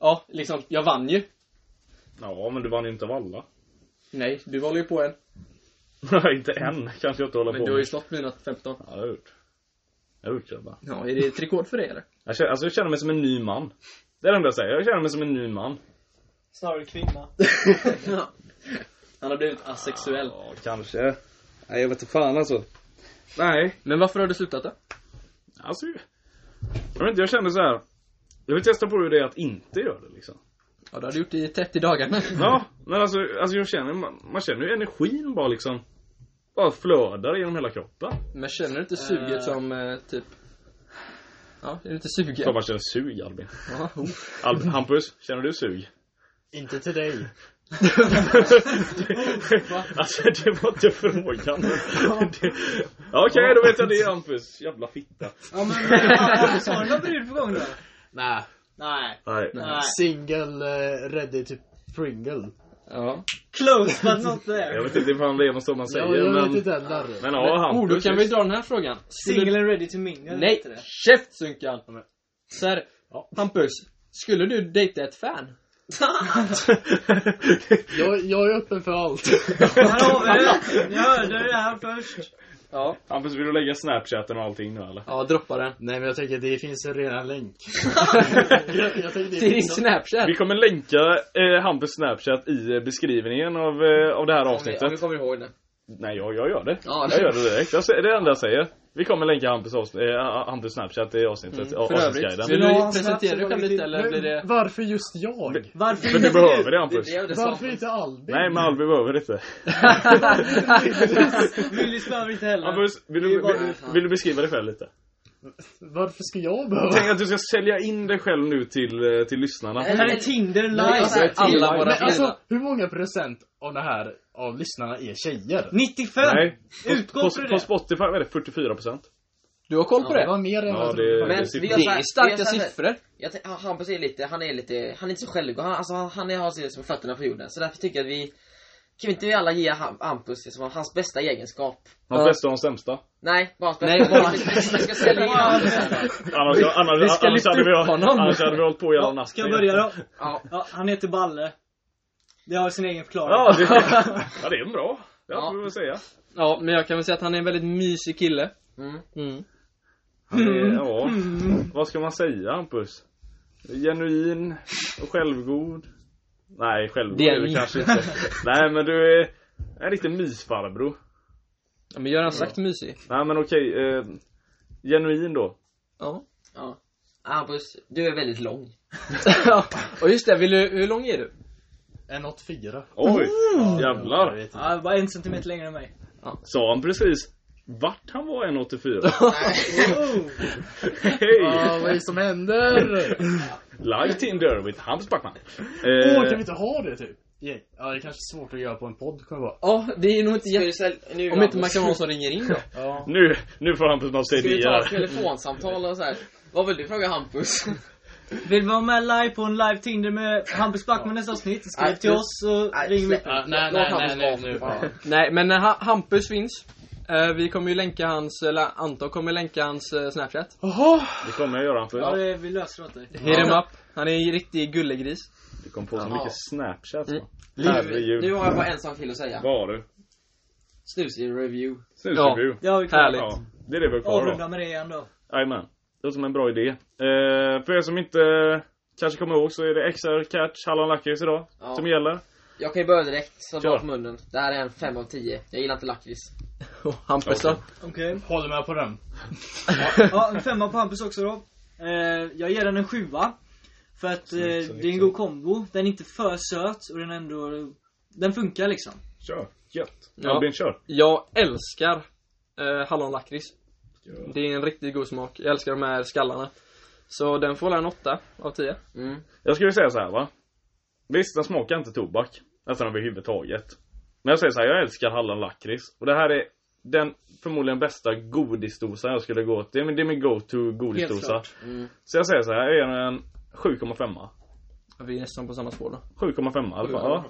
[SPEAKER 4] Ja, liksom, jag vann ju.
[SPEAKER 3] Ja, men du vann ju inte av alla.
[SPEAKER 4] Nej, du håller ju på en.
[SPEAKER 3] Nej, inte än. Kanske jag inte håller
[SPEAKER 4] Men
[SPEAKER 3] på
[SPEAKER 4] du har ju
[SPEAKER 3] med.
[SPEAKER 4] slått mina 15.
[SPEAKER 3] Ja, det har jag gjort. Jag har gjort det bara.
[SPEAKER 4] Ja, är det ett rekord för dig eller?
[SPEAKER 3] Jag känner, alltså jag känner mig som en ny man. Det är det enda jag säger. Jag känner mig som en ny man.
[SPEAKER 2] Snarare kvinna.
[SPEAKER 4] Han har blivit asexuell.
[SPEAKER 3] Ja, kanske. Nej, jag vet inte fan alltså. Nej.
[SPEAKER 4] Men varför har du slutat då?
[SPEAKER 3] Alltså, jag vet inte, jag känner så här. Jag vill testa på hur det är att inte göra det liksom.
[SPEAKER 4] Ja, det har du gjort i 30 dagar nu.
[SPEAKER 3] Ja, men alltså, alltså jag känner, man, man känner ju energin bara liksom. Bara flödar genom hela kroppen.
[SPEAKER 4] Men känner du inte suget
[SPEAKER 2] Eh.
[SPEAKER 4] som, eh, typ... Ja, är du inte
[SPEAKER 3] Klart
[SPEAKER 4] sugen?
[SPEAKER 3] man känner sug Albin.
[SPEAKER 4] Ja, oh.
[SPEAKER 3] Albin Hampus, känner du sug?
[SPEAKER 5] Inte till dig.
[SPEAKER 3] alltså det var inte frågan. Det- Ja, Okej, då vet jag det Hampus. Jävla fitta.
[SPEAKER 2] Ja men, eh, sa du någon brud på gång då?
[SPEAKER 5] Nej.
[SPEAKER 2] Nej.
[SPEAKER 3] Nej.
[SPEAKER 2] Nej.
[SPEAKER 5] Single, eh, ready to Pringle.
[SPEAKER 4] Ja.
[SPEAKER 2] Close but not
[SPEAKER 3] Jag
[SPEAKER 2] there.
[SPEAKER 3] vet inte ifall det är så man säger,
[SPEAKER 5] Ja, jag
[SPEAKER 3] men...
[SPEAKER 5] vet inte heller.
[SPEAKER 3] Men ja,
[SPEAKER 4] oh,
[SPEAKER 3] Hampus.
[SPEAKER 4] då kan vi dra den här frågan. Skulle-
[SPEAKER 2] Single and ready to mingle.
[SPEAKER 4] Nej,
[SPEAKER 2] heter det.
[SPEAKER 4] käftsynkan!
[SPEAKER 5] men-
[SPEAKER 4] Så här, Hampus. Skulle du dejta ett fan?
[SPEAKER 5] Jag, jag är öppen för allt.
[SPEAKER 2] Här har vi det. Ni hörde det här först.
[SPEAKER 4] Ja.
[SPEAKER 3] Hampus, vill du lägga snapchatten och allting nu eller?
[SPEAKER 4] Ja, droppa den.
[SPEAKER 5] Nej men jag tänker det finns en redan länk. jag, jag tänker det
[SPEAKER 4] Till din
[SPEAKER 5] finns en...
[SPEAKER 4] snapchat.
[SPEAKER 3] Vi kommer länka eh, Hampus snapchat i eh, beskrivningen av, eh, av det
[SPEAKER 1] Om
[SPEAKER 3] här
[SPEAKER 1] vi, om vi
[SPEAKER 3] avsnittet.
[SPEAKER 1] kommer ihåg det.
[SPEAKER 3] Nej, jag, jag gör det.
[SPEAKER 1] Ja,
[SPEAKER 3] Jag gör det direkt. Jag, säger- det är det enda jag säger. Vi kommer länka Hampus, avsn- eh, Hampus snapchat i avsnittet. Mm,
[SPEAKER 4] För övrigt,
[SPEAKER 3] avsnittsguiden.
[SPEAKER 4] vill du
[SPEAKER 2] Ja,
[SPEAKER 4] presentera dig själv lite eller blir det...
[SPEAKER 5] Men Varför just jag?
[SPEAKER 2] Varför
[SPEAKER 3] Men du behöver det Hampus.
[SPEAKER 1] Det är det
[SPEAKER 5] Varför
[SPEAKER 1] som...
[SPEAKER 5] inte Albin?
[SPEAKER 3] Nej, men Albin behöver det inte.
[SPEAKER 2] Willys behöver inte heller.
[SPEAKER 3] Hampus, vill
[SPEAKER 2] Det
[SPEAKER 3] du,
[SPEAKER 2] är bara-
[SPEAKER 3] vill, vill du beskriva dig själv lite?
[SPEAKER 5] Varför ska jag behöva?
[SPEAKER 3] Tänk att du ska sälja in dig själv nu till, eh, till lyssnarna.
[SPEAKER 2] Det här är Tinder
[SPEAKER 1] Nej, alltså,
[SPEAKER 2] live.
[SPEAKER 1] jag-
[SPEAKER 4] Alla
[SPEAKER 5] Men
[SPEAKER 4] våra fina...
[SPEAKER 5] alltså, hur många procent av det här, av lyssnarna, är tjejer?
[SPEAKER 2] 95!
[SPEAKER 3] Nej, på,
[SPEAKER 2] Utgå
[SPEAKER 3] på,
[SPEAKER 2] från
[SPEAKER 3] på
[SPEAKER 2] det.
[SPEAKER 3] Spotify vad är det 44%.
[SPEAKER 4] Du har koll på
[SPEAKER 5] Det
[SPEAKER 4] det?
[SPEAKER 5] var mer än vad
[SPEAKER 3] Ja,
[SPEAKER 5] jag
[SPEAKER 3] det,
[SPEAKER 5] trodde.
[SPEAKER 1] Men
[SPEAKER 3] det
[SPEAKER 1] vi
[SPEAKER 4] Det
[SPEAKER 1] gör så här-
[SPEAKER 4] är starka
[SPEAKER 1] vi gör så här-
[SPEAKER 4] siffror.
[SPEAKER 1] Jag tänk- han- Hampus är lite, han är lite, han är inte så självgod. Han, alltså, han, han är, har sig som fötterna på jorden. Så därför tycker jag att vi, kan vi inte vi alla ge Ham- Hampus liksom, hans bästa egenskap?
[SPEAKER 3] De
[SPEAKER 4] Ja.
[SPEAKER 3] bästa och de sämsta.
[SPEAKER 1] Nej, bara hans bästa.
[SPEAKER 4] Nej, bara-
[SPEAKER 1] Vi ska- vi ska sälja in Hampus här.
[SPEAKER 3] Annars,
[SPEAKER 4] Vi-
[SPEAKER 3] annars,
[SPEAKER 4] vi ska
[SPEAKER 3] annars,
[SPEAKER 4] lyfta
[SPEAKER 3] hade vi,
[SPEAKER 4] upp honom.
[SPEAKER 3] annars hade vi hållit på hela
[SPEAKER 2] Ja,
[SPEAKER 3] natten.
[SPEAKER 2] Ska jag börja då?
[SPEAKER 1] Ja.
[SPEAKER 2] Ja, han heter Balle. Det har sin egen förklaring.
[SPEAKER 3] Ja, det, ja, det är bra. Det får vi väl säga.
[SPEAKER 4] Ja, men jag kan väl säga att han är en väldigt mysig kille.
[SPEAKER 1] Mm.
[SPEAKER 4] Mm.
[SPEAKER 3] Han är, ja, vad ska man säga Hampus? Genuin och självgod. Nej, självgod
[SPEAKER 4] Det är
[SPEAKER 3] är du
[SPEAKER 4] ni.
[SPEAKER 3] kanske inte. Nej, men du är en riktig mysfarbror.
[SPEAKER 4] Ja, men gör han sagt mysig?
[SPEAKER 3] Nej, men okej. Eh, genuin då.
[SPEAKER 4] Ja.
[SPEAKER 1] Ja. Hampus, Ah, du är väldigt lång.
[SPEAKER 4] Och just det, vill du, hur lång är du?
[SPEAKER 5] En 84.
[SPEAKER 3] Oj,
[SPEAKER 5] Mm. Jag
[SPEAKER 3] jävlar.
[SPEAKER 5] vet inte.
[SPEAKER 2] Ja, bara en centimeter längre än mig.
[SPEAKER 3] Sa han precis vart han var 1,84?
[SPEAKER 2] Oh.
[SPEAKER 5] Ja,
[SPEAKER 3] Hej!
[SPEAKER 5] vad är det som händer?
[SPEAKER 3] Live Tinder with Hampus Backman.
[SPEAKER 5] Åh, kan vi
[SPEAKER 3] Eh,
[SPEAKER 5] inte ha det typ? Yeah. Ja, det är kanske är svårt att göra på en podd, kommer jag på.
[SPEAKER 4] Ja, det är nog inte
[SPEAKER 1] Ska vi
[SPEAKER 4] jätte...
[SPEAKER 1] sälja, nu
[SPEAKER 4] Om inte man
[SPEAKER 1] Hampus.
[SPEAKER 4] kan vara någon som ringer in då.
[SPEAKER 5] Ja.
[SPEAKER 3] nu, nu får Hampus massa
[SPEAKER 1] Ska vi ta ett
[SPEAKER 3] idéer.
[SPEAKER 1] telefonsamtal och så här. Vad vill du fråga Hampus?
[SPEAKER 2] Vill du vara med live på en live Tinder med Hampus Backman nästa avsnitt? Skriv
[SPEAKER 1] Nej,
[SPEAKER 2] till
[SPEAKER 1] du-
[SPEAKER 2] oss och
[SPEAKER 1] Nej,
[SPEAKER 2] ring mig.
[SPEAKER 1] släpp-
[SPEAKER 5] Ja, nej,
[SPEAKER 1] låt
[SPEAKER 5] nej,
[SPEAKER 1] Hampus
[SPEAKER 5] nej,
[SPEAKER 1] vara.
[SPEAKER 5] nej, nu.
[SPEAKER 1] Ja.
[SPEAKER 4] Nej, men eh, Ha- Hampus finns. Eh, Vi kommer ju länka hans, eller Anton kommer länka hans eh, snapchat.
[SPEAKER 5] Jaha!
[SPEAKER 3] Det kommer jag göra Hampus.
[SPEAKER 2] Ja, det- vi löser det åt dig.
[SPEAKER 4] Hit him up. Han är en riktig gullegris.
[SPEAKER 3] Du kom på så
[SPEAKER 1] Ja.
[SPEAKER 3] mycket snapchats va?
[SPEAKER 1] Nu,
[SPEAKER 3] Herregud.
[SPEAKER 1] nu har jag bara en sak till att säga.
[SPEAKER 3] Vad har du?
[SPEAKER 1] Snus i review.
[SPEAKER 3] Snusreview.
[SPEAKER 2] Ja, vi kan
[SPEAKER 4] Härligt.
[SPEAKER 3] Ja. Det är det vi har kvar då.
[SPEAKER 2] avrunda med det igen då.
[SPEAKER 3] Jajamän. Det låter som en bra idé. Eh, för er som inte kanske kommer ihåg så är det XR, Catch, Hallon Lakrits idag
[SPEAKER 1] Ja.
[SPEAKER 3] som gäller.
[SPEAKER 1] Jag kan ju börja direkt, så
[SPEAKER 3] Kör.
[SPEAKER 1] bra på munnen. Det här är en 5 av 10. Jag gillar inte lakrits.
[SPEAKER 4] Och Hampus då?
[SPEAKER 2] Okej.
[SPEAKER 5] Håller med på den.
[SPEAKER 2] Ja, en femma på Hampus också då. Eh, jag ger den en sjua. För att eh, det är en god kombo. Den är inte för söt och den är ändå... Den funkar liksom.
[SPEAKER 3] Kör. Gött.
[SPEAKER 4] Ja.
[SPEAKER 3] Albin, kör.
[SPEAKER 4] Jag älskar eh, hallonlakrits. Det är en riktigt god smak. Jag älskar de här skallarna. Så den får en 8 av 10.
[SPEAKER 1] Mm.
[SPEAKER 3] Jag skulle säga så här va. Visst, den smakar inte tobak. Nästan överhuvudtaget. Men jag säger så här, jag älskar hallonlakrits. Och det här är den förmodligen bästa godisdosan jag skulle gå till. Det är min- det är min go-to godisdosa.
[SPEAKER 1] Mm.
[SPEAKER 3] Så jag säger så här, jag ger den en 7,5.
[SPEAKER 4] Vi är nästan på samma spår då.
[SPEAKER 3] 7,5 i alla fall. Ja.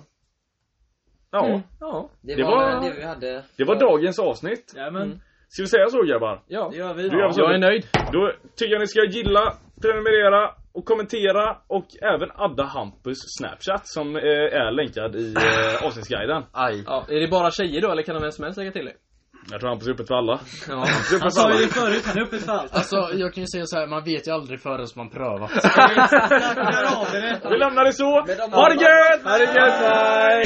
[SPEAKER 3] Ja,
[SPEAKER 4] Mm. Ja.
[SPEAKER 1] Det,
[SPEAKER 3] Det
[SPEAKER 1] var,
[SPEAKER 3] var-
[SPEAKER 1] det vi hade.
[SPEAKER 3] det var dagens avsnitt.
[SPEAKER 2] Jajmen.
[SPEAKER 4] Mm.
[SPEAKER 3] Ska vi säga så grabbar?
[SPEAKER 4] Ja.
[SPEAKER 2] Det gör vi.
[SPEAKER 3] Du gör så.
[SPEAKER 4] Jag är nöjd.
[SPEAKER 3] Då tycker jag ni ska gilla, prenumerera och kommentera och även adda Hampus snapchat som eh, är länkad i eh, avsnittsguiden.
[SPEAKER 5] Aj.
[SPEAKER 4] Ja. Är det bara tjejer då eller kan vem som helst lägga till det?
[SPEAKER 3] Jag tror Hampus är öppet för alla.
[SPEAKER 4] Ja.
[SPEAKER 3] Super
[SPEAKER 2] Han sa ju förut, han är uppe för allt.
[SPEAKER 5] Alltså jag kan ju säga så här, man vet ju aldrig förrän man prövat.
[SPEAKER 2] Där har vi det.
[SPEAKER 3] Vi lämnar det så.
[SPEAKER 1] Men om-
[SPEAKER 3] Ha det gött! Ha det gött, bye!